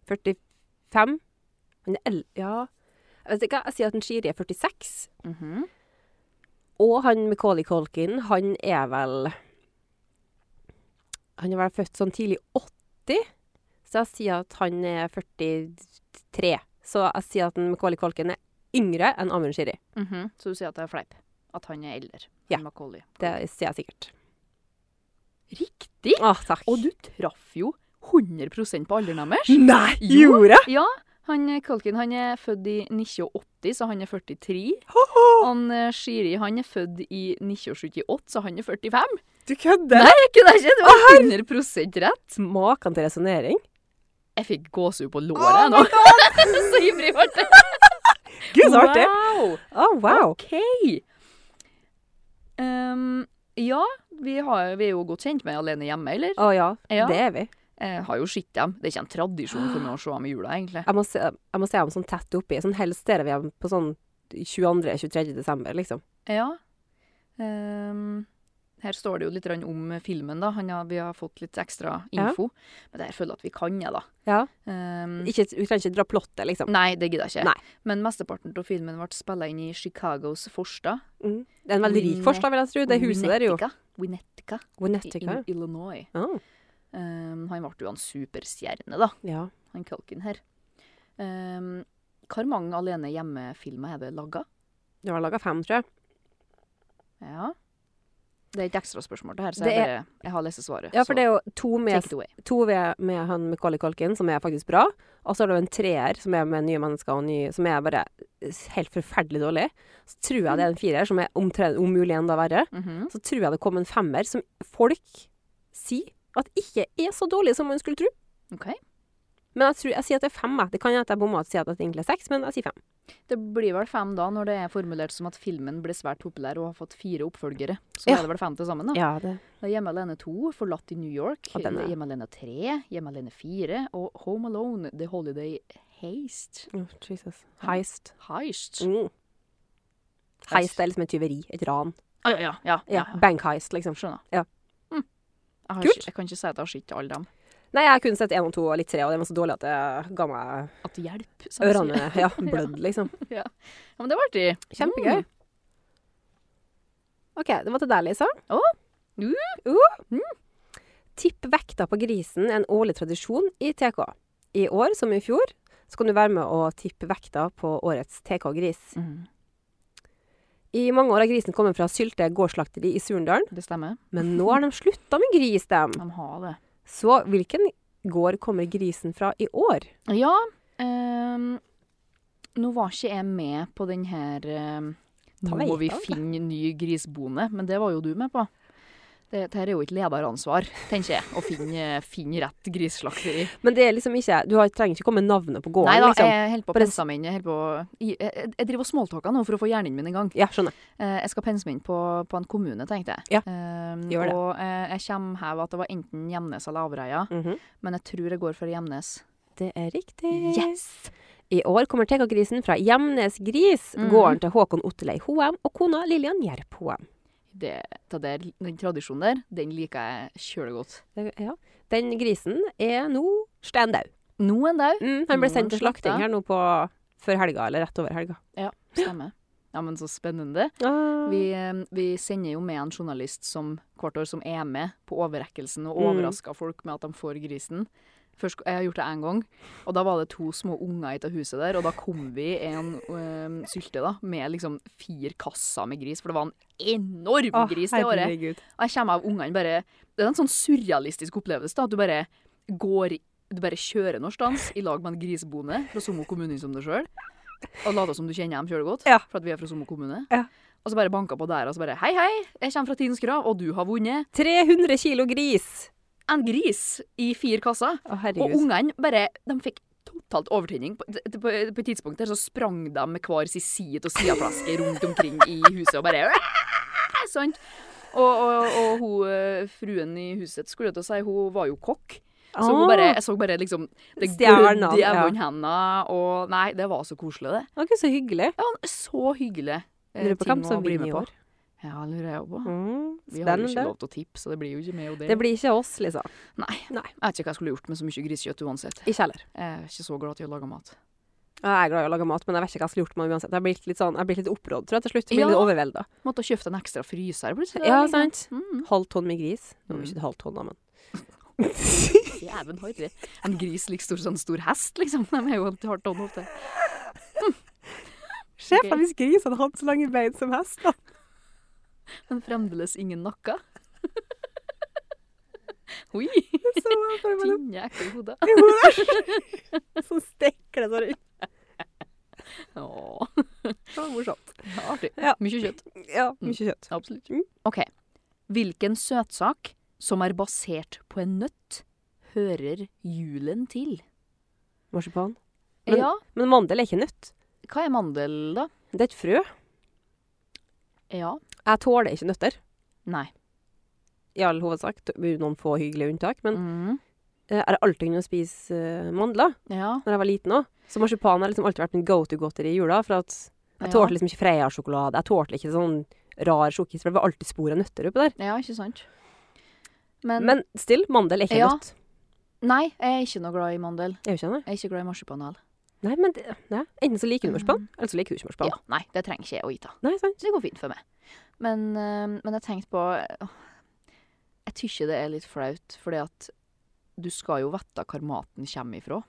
Speaker 2: 45? Han er el... Ja. Jeg vet ikke, jeg sier at den Shiria er 46.
Speaker 3: Mhm.
Speaker 2: Og han Macaulay Culkin, han er vel Han er vel født sånn tidlig 80, så jeg sier at han er 43. Så jeg sier at den Macaulay Culkin er yngre enn Amund Shiri.
Speaker 3: Mhm. Så du sier at det er fleip? At han er eldre
Speaker 2: Ja.
Speaker 3: enn Macaulay?
Speaker 2: Det sier jeg sikkert.
Speaker 3: Riktig!
Speaker 2: Å, takk.
Speaker 3: Og du traff jo 100 på alderen deres.
Speaker 2: Nei,
Speaker 3: Jo.
Speaker 2: gjorde jeg?
Speaker 3: Ja, han eh, Culkin han er født i 1980, så han er 43. Han eh, Shiri han er født i 1978, så han er 45.
Speaker 2: Du kødder?
Speaker 3: Nei, jeg kunne ikke! Det var 100 rett.
Speaker 2: Maken til resonnering.
Speaker 3: Jeg fikk gåsehud på låret jeg nå. så ivrig ble jeg.
Speaker 2: Gud, så artig!
Speaker 3: Wow!
Speaker 2: Å, wow.
Speaker 3: OK. Ehm, ja, vi, har, vi er jo godt kjent med Alene hjemme, eller?
Speaker 2: Å ja,
Speaker 3: Ja.
Speaker 2: det er vi.
Speaker 3: Jeg har jo sett dem. Det er ikke en tradisjon for meg å se dem i jula, egentlig.
Speaker 2: Jeg må se, jeg må se dem sånn tett oppi. Sånn helst ser vi dem på sånn 22.-23. desember, liksom.
Speaker 3: Ja. Ehm, her står det jo litt grann om filmen, da. Han har, vi har fått litt ekstra
Speaker 2: Ja.
Speaker 3: info. Men det her føler jeg at vi kan, jeg, da.
Speaker 2: Ja.
Speaker 3: Ehm,
Speaker 2: Ikke, vi trenger ikke dra plottet, liksom.
Speaker 3: nei, det gidder jeg ikke.
Speaker 2: Nei.
Speaker 3: Men mesteparten av filmen ble spilla inn i Chicagos forstad.
Speaker 2: Mm. Det er en veldig rik forstad, vil jeg tro. Det huset der er jo
Speaker 3: Winnetka. Winnetka i,
Speaker 2: Winnetica.
Speaker 3: i Illinois.
Speaker 2: Ah,
Speaker 3: Ehm, han ble jo en superstjerne, da,
Speaker 2: ja.
Speaker 3: han Culkin her. Um, hvor mange Alene hjemme-filmer er det laga?
Speaker 2: Det var laga fem, tror jeg.
Speaker 3: Ja. Det er et ekstra spørsmål, det her, så
Speaker 2: Det
Speaker 3: jeg,
Speaker 2: er-
Speaker 3: bare, jeg har lest svaret.
Speaker 2: Ja,
Speaker 3: så
Speaker 2: for det er jo to med,
Speaker 3: take it away.
Speaker 2: to ved- med han Macaulay Culkin, som er faktisk bra. Og så er det jo en treer, som er med nye mennesker og nye Som er bare helt forferdelig dårlig. Så tror jeg det er en firer, som er omtrent om mulig enda verre.
Speaker 3: Mhm.
Speaker 2: så tror jeg det kom en femmer som folk sier at ikke er så dårlig som man skulle tro.
Speaker 3: Ok.
Speaker 2: Men jeg, tror, jeg sier at det er fem. jeg. Det kan hende at jeg bomma og sier at det egentlig er seks, men jeg sier fem.
Speaker 3: Det blir vel fem da, når det er formulert som at filmen ble svært populær og har fått fire oppfølgere. Så
Speaker 2: Ja.
Speaker 3: er det vel fem til sammen, da.
Speaker 2: Ja, det.
Speaker 3: Det er Hjemme alene 2, Forlatt i New York,
Speaker 2: Og den er-
Speaker 3: Hjemme alene 3, Hjemme alene 4 og Home Alone, The Holiday Heist.
Speaker 2: Oh, Jesus. Heist.
Speaker 3: Heist.
Speaker 2: Mm. Heist er liksom et tyveri. Et ran.
Speaker 3: Ah, ja, ja, ja, ja,
Speaker 2: Ja, Bankheist, liksom.
Speaker 3: Skjønner.
Speaker 2: Ja.
Speaker 3: Mm. Jeg, har
Speaker 2: Kult.
Speaker 3: ikke, jeg kan ikke si at jeg har sett alle dem.
Speaker 2: Nei, jeg har kun sett én og to og litt tre, og den var så dårlig at det ga meg
Speaker 3: At hjelp. som jeg sier.
Speaker 2: ørene ja, blødd, liksom.
Speaker 3: Ja, men det var artig.
Speaker 2: Kjempegøy. OK, det var til deg, Lisa.
Speaker 3: Å. Uh.
Speaker 2: Uh. Tipp vekta på grisen er en årlig tradisjon i TK. I år, som i fjor, så kan du være med å tippe vekta på årets TK-gris.
Speaker 3: Mm.
Speaker 2: I mange år har grisen kommet fra Sylte gårdsslakteri i Surndalen,
Speaker 3: Det stemmer.
Speaker 2: men nå har de slutta med gris, dem.
Speaker 3: De har det.
Speaker 2: Så hvilken gård kommer grisen fra i år?
Speaker 3: Ja. ehm, nå var ikke jeg med på den her ehm,
Speaker 2: Ta
Speaker 3: Nå
Speaker 2: vei,
Speaker 3: må vi
Speaker 2: da, vet du.
Speaker 3: finne ny grisbonde, men det var jo du med på. Det, dette er jo ikke lederansvar, tenker jeg, å finne, finne rett grisslakteri.
Speaker 2: Men det er liksom ikke Du har, trenger ikke komme med navnet på gården,
Speaker 3: Nei da,
Speaker 2: liksom.
Speaker 3: jeg holder på å
Speaker 2: Bare
Speaker 3: pense meg inn. Jeg, holder på, jeg, jeg, jeg driver og smalltalker nå for å få hjernen min i gang.
Speaker 2: Ja, skjønner.
Speaker 3: Eh, jeg skal pense meg inn på, på en kommune, tenkte jeg.
Speaker 2: Ja,
Speaker 3: Ehm,
Speaker 2: gjør det.
Speaker 3: Og eh, jeg kommer her ved at det var enten Gjemnes eller Avreia,
Speaker 2: Mhm.
Speaker 3: men jeg tror jeg går for Gjemnes.
Speaker 2: Det er riktig.
Speaker 3: Yes!
Speaker 2: I år kommer TK-grisen fra Gjemnes Gris,
Speaker 3: Mhm.
Speaker 2: gården til Håkon Ottelei Hoem og kona Lillian Gjerp Hoem.
Speaker 3: Det, det der, den tradisjonen der, den liker jeg kjølig godt.
Speaker 2: Det- Ja. Den grisen er nå stein dau.
Speaker 3: Noen dag
Speaker 2: Mm, han ble
Speaker 3: Nå
Speaker 2: sendt til
Speaker 3: er han slaktet.
Speaker 2: slakting her nå på før helga, eller rett over helga.
Speaker 3: stemmer. Ja, men så spennende.
Speaker 2: Vi,
Speaker 3: Vi, eh, vi sender jo med en journalist som hvert år som er med på overrekkelsen og
Speaker 2: Mm.
Speaker 3: overrasker folk med at de får grisen. Først, jeg har gjort det én gang, og da var det to små unger ut av huset der. Og da kom vi en eh, sylte da, med liksom fire kasser med gris, for det var en enorm
Speaker 2: Å,
Speaker 3: gris det året.
Speaker 2: herregud.
Speaker 3: Og jeg kommer av ungene bare Det er en sånn surrealistisk opplevelse, da. At du bare går Du bare kjører norsk dans i lag med en grisebonde fra Sommo kommune som deg sjøl. Og later som du kjenner dem kjølegodt,
Speaker 2: Ja.
Speaker 3: for at vi er fra Sommo kommune.
Speaker 2: Ja.
Speaker 3: Og så bare banka på der og så bare Hei, hei, jeg kommer fra Tidens Krav, og du har vunnet
Speaker 2: 300 kilo gris!
Speaker 3: en gris i fire kasser.
Speaker 2: Å,
Speaker 3: Og
Speaker 2: herregud.
Speaker 3: ungene bare De fikk totalt overtenning. På, på, på et tidspunkt der så sprang de med hver sin side av sideflaske rundt omkring i huset og bare «Åh!» Sant? Og, og, og hun, eh, fruen i huset skulle jeg til å si, hun var jo kokk. Så hun bare, jeg så bare liksom Det
Speaker 2: Stjerna,
Speaker 3: glødde i
Speaker 2: ja.
Speaker 3: øynene. Og nei, det var så koselig, det.
Speaker 2: Å, gud, Ah, så hyggelig.
Speaker 3: Det var en så hyggelig eh,
Speaker 2: Lurer på hvem
Speaker 3: ting å
Speaker 2: som
Speaker 3: bli
Speaker 2: vinner
Speaker 3: med
Speaker 2: i
Speaker 3: på.
Speaker 2: år.
Speaker 3: Ja, lurer jeg også på.
Speaker 2: Mm,
Speaker 3: Vi har jo ikke
Speaker 2: spennende.
Speaker 3: lov til å tippe, så det blir jo ikke med. Og det.
Speaker 2: Det blir ikke oss, liksom.
Speaker 3: Nei.
Speaker 2: Nei.
Speaker 3: Jeg vet ikke hva jeg skulle gjort med så mye grisekjøtt uansett.
Speaker 2: Ikke heller.
Speaker 3: Jeg er ikke så glad til å lage mat.
Speaker 2: Ja, Jeg er glad i å lage mat, men jeg vet ikke hva jeg skulle gjort med det uansett. Jeg blir litt, sånn, jeg blir litt opprådd, tror jeg, til slutt. Jeg blir
Speaker 3: Ja.
Speaker 2: litt overvelda.
Speaker 3: Måtte ha kjøpt en ekstra fryser plutselig.
Speaker 2: Ja,
Speaker 3: liksom.
Speaker 2: sant?
Speaker 3: Mm.
Speaker 2: Halv tonn med gris. Nå er det
Speaker 3: Mm.
Speaker 2: ikke et halvt tonn, da, men
Speaker 3: altså, Jæven harry. En gris like stor som en stor hest, liksom. De er jo hardt hånd ofte.
Speaker 2: Se
Speaker 3: for
Speaker 2: hvis gris hadde hatt så lange bein som hest, da.
Speaker 3: Men fremdeles ingen nakke. Oi,
Speaker 2: Så for
Speaker 3: tynne, ekle hoder.
Speaker 2: sånn stekle så rundt.
Speaker 3: Åh,
Speaker 2: Det var morsomt.
Speaker 3: ja, artig.
Speaker 2: Ja.
Speaker 3: Mye kjøtt.
Speaker 2: Ja, mye kjøtt.
Speaker 3: Absolutt.
Speaker 2: Mm.
Speaker 3: Ok. Hvilken søtsak som er basert på en nøtt, hører julen til?
Speaker 2: Marsipan. Men-
Speaker 3: ja,
Speaker 2: Men mandel er ikke nøtt.
Speaker 3: hva er mandel, da?
Speaker 2: Det er et frø.
Speaker 3: Ja.
Speaker 2: Jeg tåler ikke nøtter.
Speaker 3: Nei.
Speaker 2: I all hovedsak. Det blir Noen få hyggelige unntak. Men
Speaker 3: Mm.
Speaker 2: eh, jeg har alltid kunnet spise eh, mandler
Speaker 3: Ja.
Speaker 2: når jeg var liten òg. Så marsipan har liksom alltid vært min go to-godteri i jula. For at jeg
Speaker 3: Ja.
Speaker 2: tålte liksom ikke Freia-sjokolade. Jeg tålte ikke sånn rar sjokkis, for det var alltid spor av nøtter oppi der.
Speaker 3: Ja, ikke sant. Men,
Speaker 2: Men still, mandel er ikke
Speaker 3: Ja.
Speaker 2: nøtt.
Speaker 3: nei, jeg er ikke noe glad i mandel.
Speaker 2: Er jo ikke det?
Speaker 3: Jeg er ikke glad i marsipan heller.
Speaker 2: Nei, men det, nei. Enten så liker du marsipan, eller så liker du ikke marsipan.
Speaker 3: Ja, nei, det trenger ikke jeg å ite.
Speaker 2: Nei, sant?
Speaker 3: Så det går fint for meg. Men, eh, men jeg tenkte på åh, Jeg tykker det er litt flaut, fordi at du skal jo vite hvor maten kommer ifra.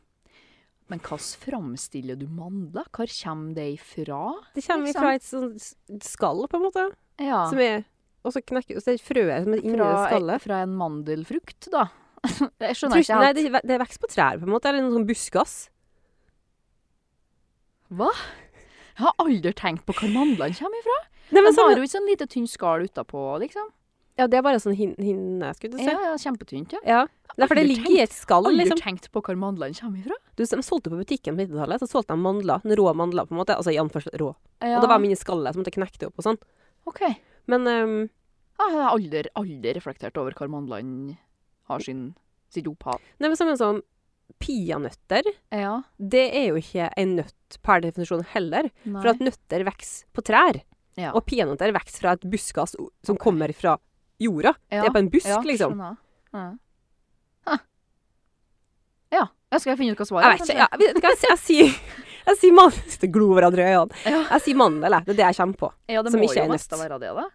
Speaker 3: Men hvordan framstiller du mandler? Hvor kommer det ifra?
Speaker 2: Det kommer
Speaker 3: Liksom.
Speaker 2: fra et sånt s- skall, på en måte.
Speaker 3: Ja,
Speaker 2: Som er, og så knekker og så er det frøet som er inni det
Speaker 3: fra,
Speaker 2: skallet.
Speaker 3: fra en mandelfrukt, da. jeg
Speaker 2: Tror
Speaker 3: skjønner
Speaker 2: ikke-
Speaker 3: ikke
Speaker 2: nei,
Speaker 3: helt.
Speaker 2: det, det er vekst på trær, på en måte. Eller noe sånn buskas.
Speaker 3: Jeg har aldri tenkt på hvor mandlene kommer ifra.
Speaker 2: Nei, men
Speaker 3: De
Speaker 2: sånn,
Speaker 3: har jo et sånn lite tynt skall utapå, liksom.
Speaker 2: ja, det er bare sånn hin- hinne, skulle du si.
Speaker 3: Ja,
Speaker 2: Ja.
Speaker 3: ja, kjempetynt, ja.
Speaker 2: Nei, for det
Speaker 3: Aldri
Speaker 2: ligger i et skall,
Speaker 3: Aldri
Speaker 2: liksom.
Speaker 3: tenkt på hvor mandlene kommer ifra.
Speaker 2: Du, de solgte på butikken på 90-tallet, så solgte de mandler. sånn Rå mandler, på en måte. Altså i anførsel rå.
Speaker 3: Ja.
Speaker 2: Og det var mine skallet som måtte knekke det opp og sånn.
Speaker 3: Ok. Jeg
Speaker 2: Men ehm,
Speaker 3: har aldri, aldri reflektert over hvor mandlene har sin, sitt opphav.
Speaker 2: nei, men sånn som peanøtter,
Speaker 3: Ja.
Speaker 2: det er jo ikke en nøtt per definisjon heller.
Speaker 3: Nei.
Speaker 2: For at nøtter vokser på trær.
Speaker 3: Ja.
Speaker 2: Og peanøtter vokser fra et buskas o- som kommer fra jorda.
Speaker 3: Ja.
Speaker 2: Det er på en busk,
Speaker 3: ja,
Speaker 2: liksom.
Speaker 3: skjønner. Ja. Ja. ja. Skal jeg finne ut hva svaret
Speaker 2: Jeg vet ikke. Ja, vet du hva, jeg, jeg, sier, jeg sier mandel. Det glor hverandre i øynene.
Speaker 3: Ja.
Speaker 2: Jeg sier mandel, jeg. Det er det jeg kommer på.
Speaker 3: Ja, det
Speaker 2: Som
Speaker 3: må
Speaker 2: ikke
Speaker 3: jo
Speaker 2: er nøtt.
Speaker 3: nesten være det, da.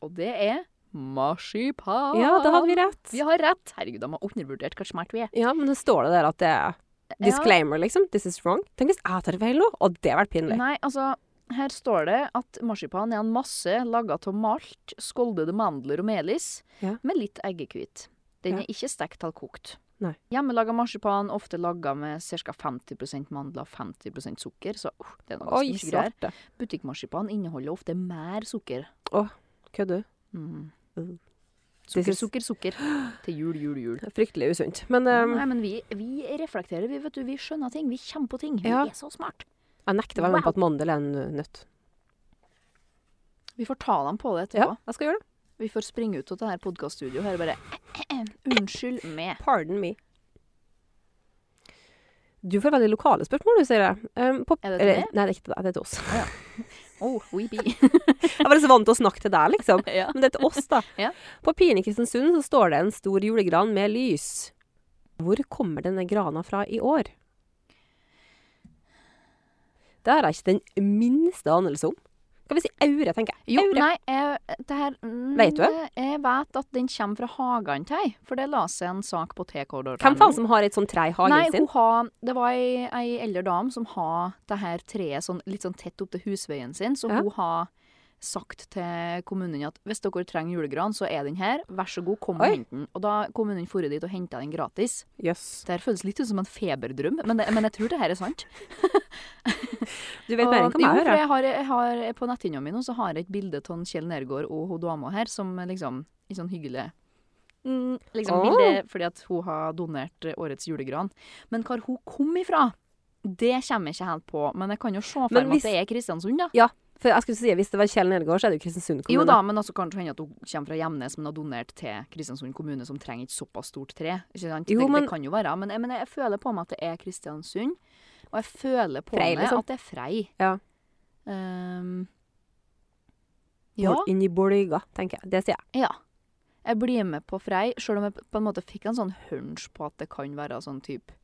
Speaker 3: Og det er marsipan.
Speaker 2: Ja, da hadde vi rett.
Speaker 3: Vi har rett. Herregud, de har undervurdert hvor smart vi er.
Speaker 2: Ja, men det står det der at det er disclaimer, liksom. This is wrong. Tenk hvis jeg tar feil nå, og det hadde vært pinlig.
Speaker 3: Nei, altså, her står det at marsipan er en masse laga av malt, skåldede mandler og melis,
Speaker 2: Ja.
Speaker 3: med litt eggehvit.
Speaker 2: Ja.
Speaker 3: Den er ikke stekt eller kokt.
Speaker 2: Nei.
Speaker 3: Hjemmelaga marsipan, ofte laga med ca. 50 mandler og 50 sukker, så uh, det er noe
Speaker 2: Oi,
Speaker 3: ganske mye greier.
Speaker 2: svarte.
Speaker 3: Butikkmarsipan inneholder ofte mer sukker.
Speaker 2: Kødder du?
Speaker 3: Mm.
Speaker 2: Mm.
Speaker 3: Sukker,
Speaker 2: This is-
Speaker 3: sukker, sukker. Til jul, jul, jul.
Speaker 2: Fryktelig usunt. Men
Speaker 3: Ja,
Speaker 2: ehm,
Speaker 3: Nei, men vi, vi reflekterer, vi, vet du, vi skjønner ting, vi kommer på ting. Vi
Speaker 2: Ja.
Speaker 3: er så smart.
Speaker 2: jeg nekter å være med på at mandel er en ø, nøtt.
Speaker 3: Vi får ta dem på det
Speaker 2: Ja,
Speaker 3: etterpå.
Speaker 2: jeg skal gjøre det.
Speaker 3: Vi får springe ut av det her podcaststudioet her og bare Unnskyld meg.
Speaker 2: Pardon me. Du får veldig lokale spørsmål, du, sier jeg. Ehm, på-
Speaker 3: Er det til
Speaker 2: eller-
Speaker 3: meg?
Speaker 2: Nei, det er ikke til deg. Det er til oss.
Speaker 3: Oh, we be.
Speaker 2: Jeg var så vant til å snakke til deg, liksom.
Speaker 3: ja.
Speaker 2: Men det er til oss, da.
Speaker 3: Ja.
Speaker 2: På Pien i Kristiansund så står det en stor julegran med lys. Hvor kommer denne grana fra i år? Det har jeg ikke den minste anelse om. Skal vi si aure, tenker jeg.
Speaker 3: Jo,
Speaker 2: Aure.
Speaker 3: nei, jeg, det her mm,
Speaker 2: Vet du det?
Speaker 3: Jeg vet at den kommer fra hagen til ei, for det la seg en sak på TK.no.
Speaker 2: Hvem faen som har et sånt tre i
Speaker 3: Nei,
Speaker 2: hagen
Speaker 3: hun
Speaker 2: sin?
Speaker 3: har, det var ei, ei eldre dame som har det her treet sånn, litt sånn tett opp til husveien sin, så
Speaker 2: Ja.
Speaker 3: hun har sagt til kommunen at hvis dere trenger julegran, så er den her, vær så god, kom og
Speaker 2: Oi.
Speaker 3: hent den. Og da kommunen for dit og henta den gratis.
Speaker 2: Jøss.
Speaker 3: Det her føles litt ut som en feberdrøm, men, det, men jeg tror det her er sant.
Speaker 2: Du vet mer enn hva
Speaker 3: jo,
Speaker 2: jeg
Speaker 3: for
Speaker 2: hører.
Speaker 3: jeg har, jeg har på netthinna mi nå så har jeg et bilde av Kjell Nergård og hun dama her, som liksom i sånn hyggelig mm, liksom
Speaker 2: Åh.
Speaker 3: bilde fordi at hun har donert eh, årets julegran. Men hvor hun kom ifra, det kommer jeg ikke helt på. Men jeg kan jo se for
Speaker 2: Men
Speaker 3: meg
Speaker 2: hvis-
Speaker 3: at det er Kristiansund, da.
Speaker 2: For jeg skulle si, Hvis det var Kjell Nedgaard, så er det jo Kristiansund kommune.
Speaker 3: Jo da, men altså kanskje hende at hun kommer fra Gjemnes, men har donert til Kristiansund kommune, som trenger et såpass stort tre. Ikke sant?
Speaker 2: Jo,
Speaker 3: det,
Speaker 2: men-
Speaker 3: det kan jo være. Men, jeg- men jeg føler på meg at det er Kristiansund. Og jeg føler på
Speaker 2: Frei,
Speaker 3: meg
Speaker 2: liksom.
Speaker 3: at det er Frei.
Speaker 2: Ja.
Speaker 3: Ehm, ja.
Speaker 2: Bor- Inni Boløyga, tenker jeg. Det sier jeg.
Speaker 3: ja. Jeg blir med på Frei, sjøl om jeg på en måte fikk en sånn hunch på at det kan være sånn type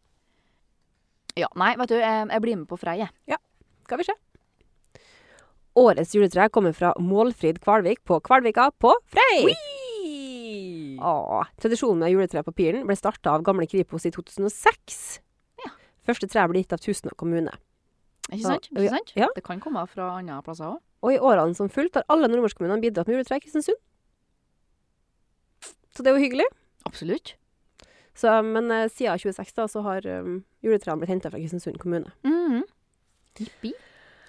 Speaker 3: Ja, nei, vet du, jeg, jeg blir med på Frei, jeg.
Speaker 2: Skal vi se. Årets juletre kommer fra Målfrid Kvalvik på Kvalvika på Frei. Åh, tradisjonen med juletre på Piren ble starta av gamle Kripos i 2006.
Speaker 3: Ja.
Speaker 2: Første treet ble gitt av Tustna kommune.
Speaker 3: Ikke sant?
Speaker 2: Ja.
Speaker 3: Ikke sant?
Speaker 2: Ja.
Speaker 3: Det kan komme fra andre plasser òg.
Speaker 2: Og i årene som fulgte har alle nordmørskommunene bidratt med juletre i Kristiansund. Så det er jo hyggelig.
Speaker 3: Absolutt.
Speaker 2: Så, men eh, siden 2006 da, så har um, juletrærne blitt henta fra Kristiansund kommune.
Speaker 3: Mhm. Jippi.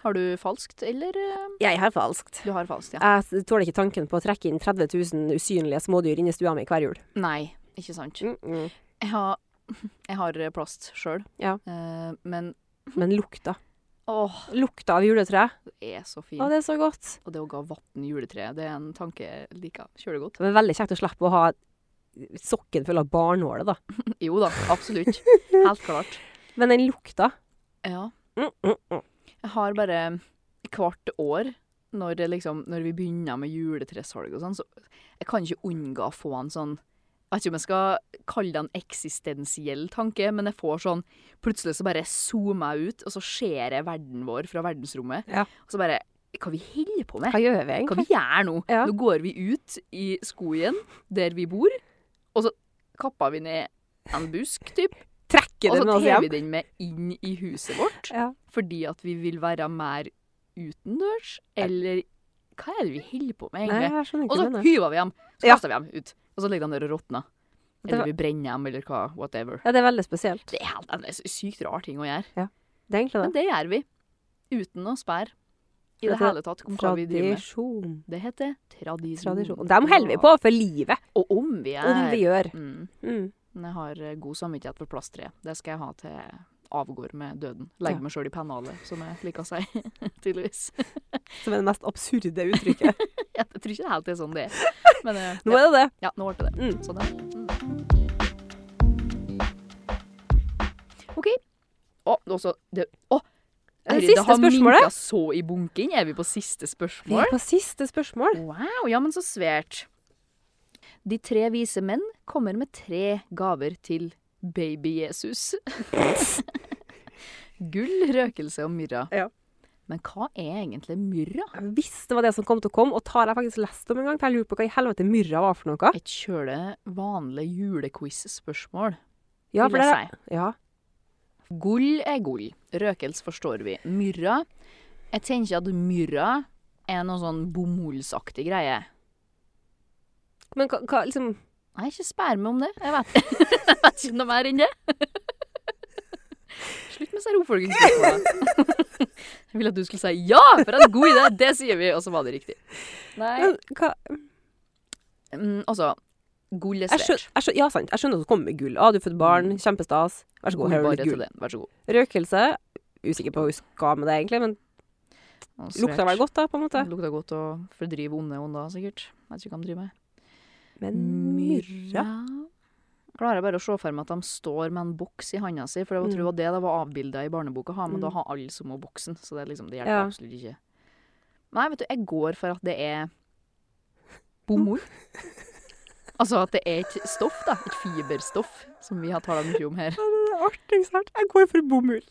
Speaker 3: Har du falskt, eller eh,
Speaker 2: Jeg har falskt.
Speaker 3: Du har falskt, ja.
Speaker 2: Jeg s- tåler ikke tanken på å trekke inn 30 000 usynlige smådyr inn i stua mi hver jul.
Speaker 3: Eh, Nei, ikke sant.
Speaker 2: Mm -mm.
Speaker 3: Jeg har, jeg har eh, plast sjøl,
Speaker 2: Ja.
Speaker 3: Eh, men
Speaker 2: Men lukta.
Speaker 3: åh,
Speaker 2: Lukta av juletre.
Speaker 3: det er så fint.
Speaker 2: Å, det er så godt.
Speaker 3: Og det å ga vann juletre, det er en tanke jeg liker kjølig godt.
Speaker 2: Det var veldig kjekt å slippe å ha sokken full av barnåler, da.
Speaker 3: Jo da, absolutt. Helt klart.
Speaker 2: Men den lukta
Speaker 3: Ja.
Speaker 2: mm, mm, mm.
Speaker 3: Jeg har bare hvert år, når, det liksom, når vi begynner med juletresalg og sånn, så jeg kan ikke unngå å få en sånn jeg vet ikke om jeg skal kalle det en eksistensiell tanke, men jeg får sånn Plutselig så bare zoomer jeg ut, og så ser jeg verden vår fra verdensrommet.
Speaker 2: Ja.
Speaker 3: Og så bare Hva vi holder på med?
Speaker 2: Hva gjør vi
Speaker 3: Hva
Speaker 2: egentlig?
Speaker 3: vi gjør nå?
Speaker 2: Ja.
Speaker 3: Nå går vi ut i skogen der vi bor, og så kapper vi ned en busk, typ.
Speaker 2: Trekker
Speaker 3: Og
Speaker 2: den
Speaker 3: så
Speaker 2: med oss
Speaker 3: tar
Speaker 2: hjem?
Speaker 3: vi den med inn i huset vårt,
Speaker 2: Ja.
Speaker 3: fordi at vi vil være mer utendørs, eller hva er det vi holder på med,
Speaker 2: Nei,
Speaker 3: egentlig?
Speaker 2: jeg skjønner
Speaker 3: Og
Speaker 2: ikke
Speaker 3: så
Speaker 2: hva du mener.
Speaker 3: hyver vi dem, så
Speaker 2: Ja.
Speaker 3: kaster vi dem ut, og så ligger de der og råtner.
Speaker 2: Det var-
Speaker 3: Eller vi brenner dem, eller hva, whatever.
Speaker 2: Ja, det er veldig spesielt.
Speaker 3: Det er helt- det er en sykt rar ting å gjøre,
Speaker 2: Det er egentlig
Speaker 3: men
Speaker 2: det.
Speaker 3: det gjør vi. Uten å spære i
Speaker 2: Det
Speaker 3: det
Speaker 2: heter
Speaker 3: hele tatt om hva vi driver med. Mm.
Speaker 2: Tradisjon.
Speaker 3: Det heter tradisjon.
Speaker 2: Tradisjon. Og Dem holder vi på for livet,
Speaker 3: Og om vi er.
Speaker 2: om vi gjør.
Speaker 3: Mm.
Speaker 2: Mm.
Speaker 3: Men Jeg har eh, god samvittighet for plasttreet. Det skal jeg ha til jeg avgår med døden. Legge
Speaker 2: Ja.
Speaker 3: meg sjøl i pennalet, som jeg liker å si. Tydeligvis.
Speaker 2: Som er det mest absurde uttrykket.
Speaker 3: Jeg tror ikke det helt er sånn det er. Men eh,
Speaker 2: Nå
Speaker 3: ja,
Speaker 2: er det det.
Speaker 3: ja, nå ble det det.
Speaker 2: Mm.
Speaker 3: Sånn er det. Mm. OK. Å, det er også det, å,
Speaker 2: Det
Speaker 3: herregud,
Speaker 2: siste spørsmålet.
Speaker 3: Det har minket så i bunken. Er vi på siste
Speaker 2: Vi er
Speaker 3: spørsmål?
Speaker 2: på siste spørsmål.
Speaker 3: Wow, ja, men så svært. De tre vise menn kommer med tre gaver til Baby-Jesus. Gull, røkelse og myrra.
Speaker 2: Ja.
Speaker 3: Men hva er egentlig myrra?
Speaker 2: Hvis det var det som kom til å komme, og tar jeg faktisk lest om en gang, for jeg lurer på hva i helvete myrra var for noe.
Speaker 3: Et kjøle vanlig julequiz-spørsmål,
Speaker 2: Ja, for
Speaker 3: vil
Speaker 2: det
Speaker 3: jeg si.
Speaker 2: Ja.
Speaker 3: Gull er gull. Røkelse forstår vi. Myrra Jeg tenker at myrra er noe sånn bomullsaktig greie.
Speaker 2: Men hva, hva liksom
Speaker 3: Nei, ikke spær meg om det. Jeg vet, jeg vet ikke noe mer enn det. Slutt med disse oppfølgingsspørsmålene. Jeg ville at du skulle si ja, for en god idé! Det sier vi, og så var det riktig. Nei.
Speaker 2: men, hva,
Speaker 3: Mm, altså, gull er
Speaker 2: jeg
Speaker 3: svært.
Speaker 2: skjønner, jeg skjønner, Ja, sant. Jeg skjønner at du kommer med gull. Å, du er født barn. Kjempestas. Vær så god, her har
Speaker 3: Gull bare
Speaker 2: du
Speaker 3: til
Speaker 2: litt gull.
Speaker 3: det. Vær så god.
Speaker 2: Røkelse. Usikker på hva hun skal med det, egentlig, men
Speaker 3: Og
Speaker 2: lukta
Speaker 3: svært.
Speaker 2: vel godt, eh? da, på en måte.
Speaker 3: Lukta godt å fordrive onde ånder, sikkert. Jeg vet ikke hva de driver med.
Speaker 2: Men myrra
Speaker 3: Myrra Klarer jeg bare å se for meg at de står med en boks i handa si, for jeg
Speaker 2: Mm.
Speaker 3: tror det var det det var avbilda i barneboka, ha, men da har alle samme boksen, så det, er liksom, det hjelper
Speaker 2: Ja.
Speaker 3: absolutt ikke. Nei, vet du, jeg går for at det er bomull. altså at det er et stoff, da. Et fiberstoff, som vi har tala mye om her.
Speaker 2: Det er artig, ikke sant? Jeg går for bomull.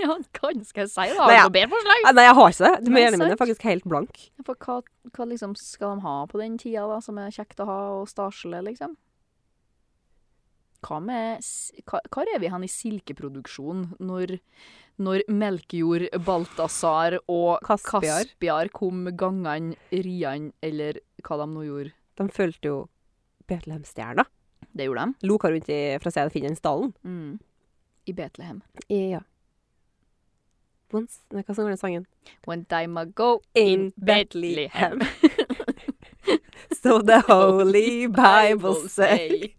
Speaker 3: ja, hva skal jeg si, da?
Speaker 2: Nei,
Speaker 3: Har
Speaker 2: ja.
Speaker 3: du noe bedre forslag?
Speaker 2: Eh, Nei, jeg har ikke det. Du må
Speaker 3: Nei,
Speaker 2: gjerne mine
Speaker 3: sant.
Speaker 2: er faktisk helt blank.
Speaker 3: For hva, hva liksom skal de ha på den tida, da, som er kjekt å ha og staselig, liksom? Hva med s- Hva, hva er vi hen i silkeproduksjon når, når Melkejord, Balthazar og
Speaker 2: Kaspiar.
Speaker 3: Kaspiar kom gangene, riene eller hva de nå gjorde?
Speaker 2: De fulgte jo Betlehemstjerna.
Speaker 3: Det gjorde de.
Speaker 2: Loka rundt i, fra stedet finner den stallen.
Speaker 3: Mm. I Betlehem.
Speaker 2: Ja. Once Nei, hva som går den sangen?
Speaker 3: When time ago
Speaker 2: In Bethlehem. So the Holy Bible say.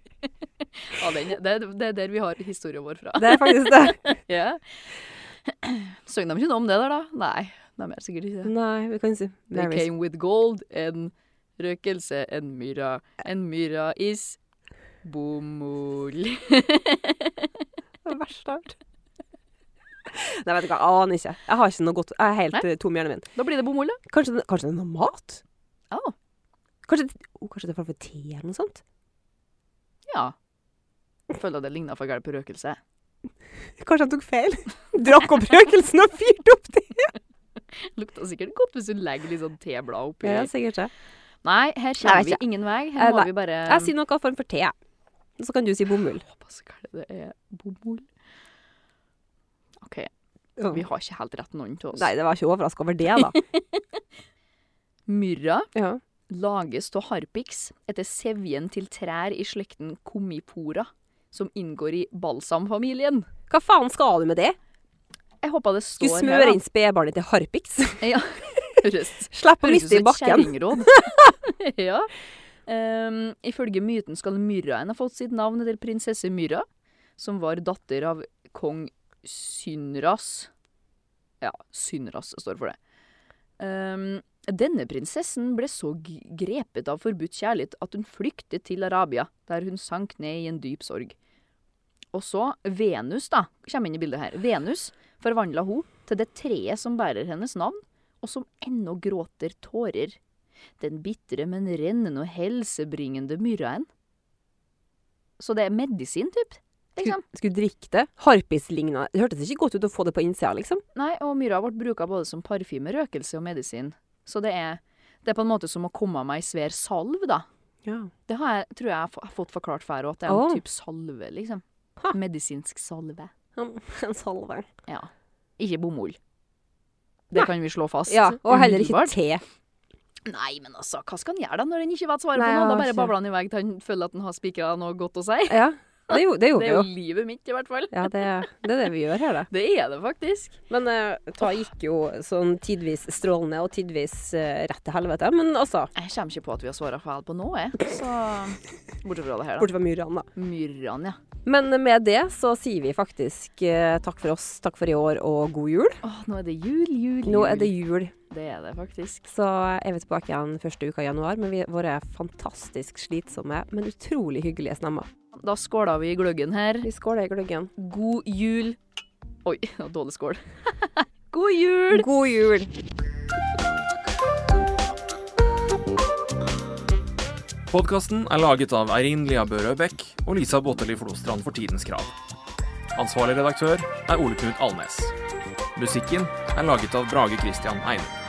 Speaker 3: ja, den, det, er- det er der vi har historien vår fra.
Speaker 2: Det er faktisk det.
Speaker 3: Ja. Søng de ikke noe om det der, da? Nei, de gjør sikkert ikke det.
Speaker 2: Nei, vi kan si
Speaker 3: They
Speaker 2: Mary's
Speaker 3: came with gold, en røkelse, en myra. En myra is bomull.
Speaker 2: verste av Nei, vet du hva, jeg aner ikke. Jeg har ikke noe godt Jeg er helt eh, tom i hjernen min.
Speaker 3: Da blir det bomull, da.
Speaker 2: Kanskje, det- kanskje det er noe mat?
Speaker 3: Ja.
Speaker 2: Kanskje, det- oh, kanskje det er for for te eller noe sånt?
Speaker 3: Ja. Jeg føler at det ligner for galt på røkelse.
Speaker 2: Kanskje han tok feil? Drakk opp røkelsen og fyrte opp det?
Speaker 3: Lukter sikkert godt hvis du legger litt sånn teblad oppi.
Speaker 2: Ja, sikkert det.
Speaker 3: Nei, her
Speaker 2: Jeg
Speaker 3: kommer
Speaker 2: vet
Speaker 3: vi ingen vei.
Speaker 2: Eh,
Speaker 3: Her
Speaker 2: nei.
Speaker 3: må vi bare
Speaker 2: Jeg sier noe form for te, jeg. Så kan du si bomull.
Speaker 3: Pass hva er det det er. Bomull. OK,
Speaker 2: Ja.
Speaker 3: vi har ikke helt rett noen til oss.
Speaker 2: Nei, det var ikke overraska over det, da.
Speaker 3: Myrra
Speaker 2: Ja.
Speaker 3: lages av harpiks etter sevjen til trær i slekten komipora, som inngår i balsamfamilien.
Speaker 2: Hva faen skal du med det?
Speaker 3: Jeg håper det
Speaker 2: Skulle
Speaker 3: står
Speaker 2: smøre inn
Speaker 3: her.
Speaker 2: spedbarnet til Harpix?
Speaker 3: da. Ja. Høres
Speaker 2: Slipp å
Speaker 3: høres ut
Speaker 2: miste i
Speaker 3: som et
Speaker 2: bakken.
Speaker 3: kjerringråd. ja. Ehm, ifølge myten skal Myrraen ha fått sitt navn etter prinsesse Myrra, som var datter av kong Synras. Ja, Synras står for det. Ehm, denne prinsessen ble så g- grepet av forbudt kjærlighet at hun flyktet til Arabia, der hun sank ned i en dyp sorg. Og så Venus, da, kommer inn i bildet her. Venus forvandla hun til det treet som bærer hennes navn og som ennå gråter tårer. Den bitre, men rennende og helsebringende myrraen. Så det er medisin, typ. Liksom.
Speaker 2: Skulle, skulle drikke det. Harpix-ligna. Det hørtes ikke godt ut å få det på innsida, liksom.
Speaker 3: Nei, og myrra ble bruka både som parfyme, røkelse og medisin. Så det er, det er på en måte som å komme meg i svær salv, da.
Speaker 2: Ja.
Speaker 3: Det har jeg, tror jeg jeg har f- fått forklart før òg, at det er en
Speaker 2: Åh.
Speaker 3: type salve, liksom.
Speaker 2: Ha.
Speaker 3: Medisinsk salve.
Speaker 2: En salve.
Speaker 3: Ja. Ikke bomull. Det
Speaker 2: Nei.
Speaker 3: kan vi slå fast.
Speaker 2: Ja, og heller ikke
Speaker 3: umiddelbart.
Speaker 2: te.
Speaker 3: Nei, men altså, hva skal han gjøre da når han ikke vet svaret
Speaker 2: Nei,
Speaker 3: på noe?
Speaker 2: jeg
Speaker 3: Da
Speaker 2: har
Speaker 3: bare
Speaker 2: ikke-
Speaker 3: babler han i vei til han føler at han har spikra noe godt å si.
Speaker 2: Ja, det gjorde, det
Speaker 3: Det
Speaker 2: gjorde
Speaker 3: er
Speaker 2: vi
Speaker 3: jo
Speaker 2: jo.
Speaker 3: livet mitt, i hvert fall.
Speaker 2: Ja, det, det er det vi gjør her, det.
Speaker 3: Det er det faktisk.
Speaker 2: Men uh, Ta gikk jo sånn tidvis strålende og tidvis eh, rett til helvete. Men altså,
Speaker 3: Jeg kommer ikke på at vi har svara feil på noe, jeg. Så Bortsett fra det her, da.
Speaker 2: bortsett fra myrene, da.
Speaker 3: Myrran, ja.
Speaker 2: Men med det så sier vi faktisk eh, takk for oss, takk for i år og god jul.
Speaker 3: Åh, nå er det jul, jul, jul.
Speaker 2: Nå er det jul,
Speaker 3: Det er det faktisk.
Speaker 2: så er vi tilbake igjen første uka i januar med vi- våre fantastisk slitsomme, men utrolig hyggelige stemmer.
Speaker 3: Da skåla vi i gløggen her.
Speaker 2: Vi skåler i gløggen.
Speaker 3: God jul. Oi, det var dårlig skål. God jul!
Speaker 2: God jul!
Speaker 1: På Podkasten er laget av Eirin Lia Børø Bech og Lisa Botteli Flostrand for Tidens Krav. Ansvarlig redaktør er Ole Knut Alnes. Musikken er laget av Brage Christian Eide.